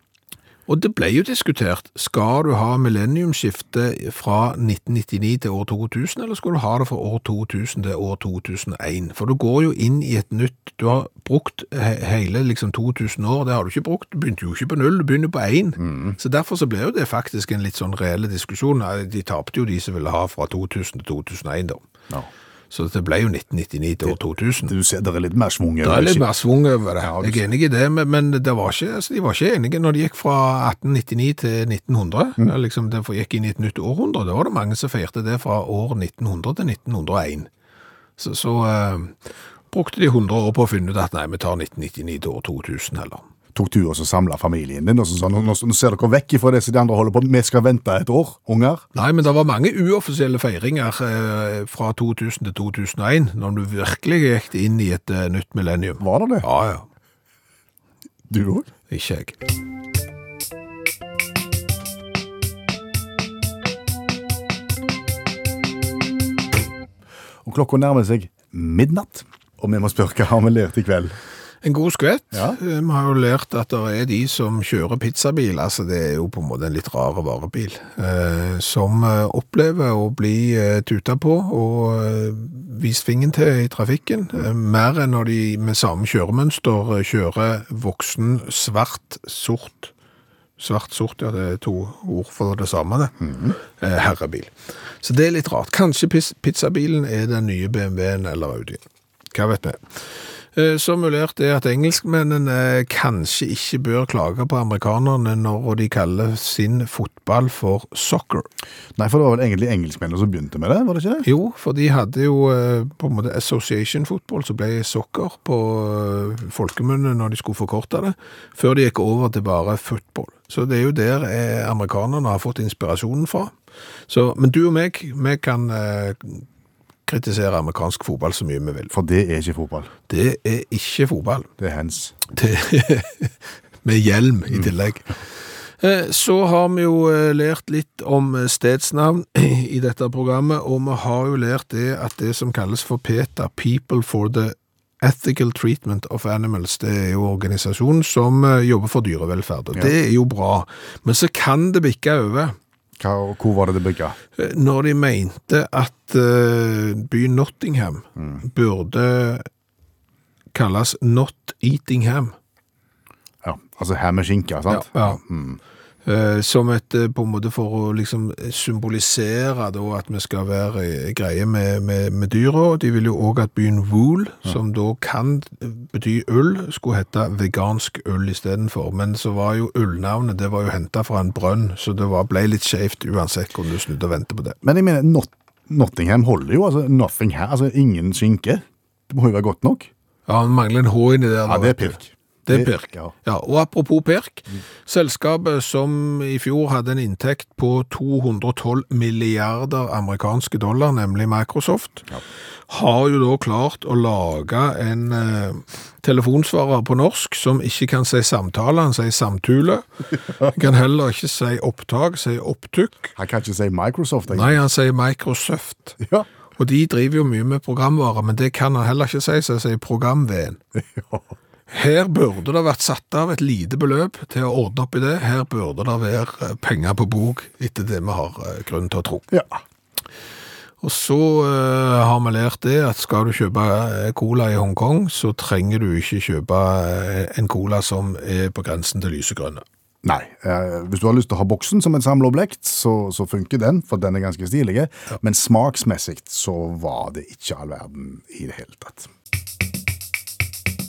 Speaker 2: Og det ble jo diskutert. Skal du ha millenniumsskiftet fra 1999 til år 2000, eller skal du ha det fra år 2000 til år 2001? For du går jo inn i et nytt Du har brukt he hele liksom 2000 år, det har du ikke brukt. Du begynte jo ikke på null, du begynner på én. Så derfor så ble jo det faktisk en litt sånn reelle diskusjon. Nei, De tapte jo de som ville ha fra 2000 til 2001, da.
Speaker 3: Ja.
Speaker 2: Så det ble jo 1999 til år 2000.
Speaker 3: Du ser, det er litt mer svung
Speaker 2: Det
Speaker 3: over
Speaker 2: er litt
Speaker 3: skip-
Speaker 2: mer svung over det.
Speaker 3: Ja, du
Speaker 2: Jeg er enig i det, men, men det var ikke, altså, de var ikke enige når de gikk fra 1899 til 1900. Ja, Liksom, det gikk inn i et nytt århundre. Da var det mange som feirte det fra år 1900 til 1901. Så, så eh, brukte de 100 år på å finne ut at nei, vi tar 1999 til år 2000 heller.
Speaker 3: Tok du og så samla familien din og så sa nå, nå nå ser dere vekk ifra det som de andre holder på med, vi skal vente et år, unger.
Speaker 2: Nei, men det var mange uoffisielle feiringer eh, fra 2000 til 2001, når du virkelig gikk inn i et eh, nytt millennium.
Speaker 3: Var det det?
Speaker 2: Ja, ja.
Speaker 3: Du òg?
Speaker 2: Ikke jeg.
Speaker 3: Og klokka nærmer seg midnatt, og vi må spørre hva har vi lært i kveld.
Speaker 2: En god skvett.
Speaker 3: Ja.
Speaker 2: Eh, Vi har jo lært at det er de som kjører pizzabil, altså det er jo på en måte en litt rar varebil, eh, som eh, opplever å bli eh, tuta på og eh, vist fingen til i trafikken, eh, mer enn når de med samme kjøremønster eh, kjører voksen svart, sort, svart-sort, ja det er to ord for det samme det, eh, herrebil. Så det er litt rart. Kanskje pis- pizzabilen er den nye BMW-en eller Audien. Hva vet vi? Eh, Så mulert er at engelskmennene eh, kanskje ikke bør klage på amerikanerne når de kaller sin fotball for soccer.
Speaker 3: Nei, for det var vel egentlig engelskmennene som begynte med det, var det ikke det?
Speaker 2: Jo, for de hadde jo eh, på en måte association-fotball, som ble soccer på eh, folkemunne når de skulle forkorte det, før de gikk over til bare football. Så det er jo der eh, amerikanerne har fått inspirasjonen fra. Så, men du og meg, vi kan eh, kritisere amerikansk fotball så mye vi vil.
Speaker 3: For det er ikke fotball.
Speaker 2: Det er ikke fotball.
Speaker 3: Det er hands.
Speaker 2: til, med hjelm i tillegg. Eh, Så har vi jo eh, lært litt om eh, stedsnavn i dette programmet, og vi har jo lært det at det som kalles for PETA, People for the Ethical Treatment of Animals, det er jo organisasjonen som eh, jobber for dyrevelferd, og det er jo bra. Men så kan det bikke over
Speaker 3: Hva, og hvor var det det bygga?
Speaker 2: eh, når de mente at eh, byen Nottingham burde kalles Not Eatingham.
Speaker 3: Ja, altså her med skinke, sant?
Speaker 2: Ja. Eh, Som et, eh, på en måte for å liksom symbolisere da at vi skal være eh, greie med, med, med dyra. De vil jo òg at byen Wool, som da kan bety ull, skulle hete vegansk ull istedenfor. Men så var jo ullnavnet det var jo henta fra en brønn, så det var, ble litt skjevt uansett hvordan du snudde og vendte på det.
Speaker 3: Men jeg mener, Not Nottingham holder jo, altså nothing her, altså ingen skinke. Det må jo være godt nok.
Speaker 2: Ja, Han mangler en H inni der.
Speaker 3: Ja,
Speaker 2: da,
Speaker 3: det er
Speaker 2: vet du.
Speaker 3: pirk.
Speaker 2: Det er Pirk.
Speaker 3: Ja.
Speaker 2: Ja, og apropos Pirk, selskapet som i fjor hadde en inntekt på 212 milliarder amerikanske dollar, nemlig Microsoft, har jo da klart å lage en eh, telefonsvarer på norsk som ikke kan si samtale, han sier samtule. Han kan heller ikke si opptak, sier opptukk.
Speaker 3: Jeg kan ikke si Microsoft. Jeg.
Speaker 2: Nei, han sier Microsoft.
Speaker 3: Ja.
Speaker 2: Og de driver jo mye med programvare, men det kan han heller ikke si, så jeg sier programveden.
Speaker 3: Ja.
Speaker 2: Her burde det vært satt av et lite beløp til å ordne opp i det. Her burde det være eh, penger på bok, etter det vi har eh, grunn til å tro.
Speaker 3: Ja.
Speaker 2: Og så eh, har vi lært det at skal du kjøpe eh, cola i Hongkong, så trenger du ikke kjøpe eh, en cola som er på grensen til lysegrønne.
Speaker 3: Nei. Eh, hvis du har lyst til å ha boksen som et samleoblekt, så, så funker den, for den er ganske stilig. Men smaksmessig så var det ikke all verden i det hele tatt.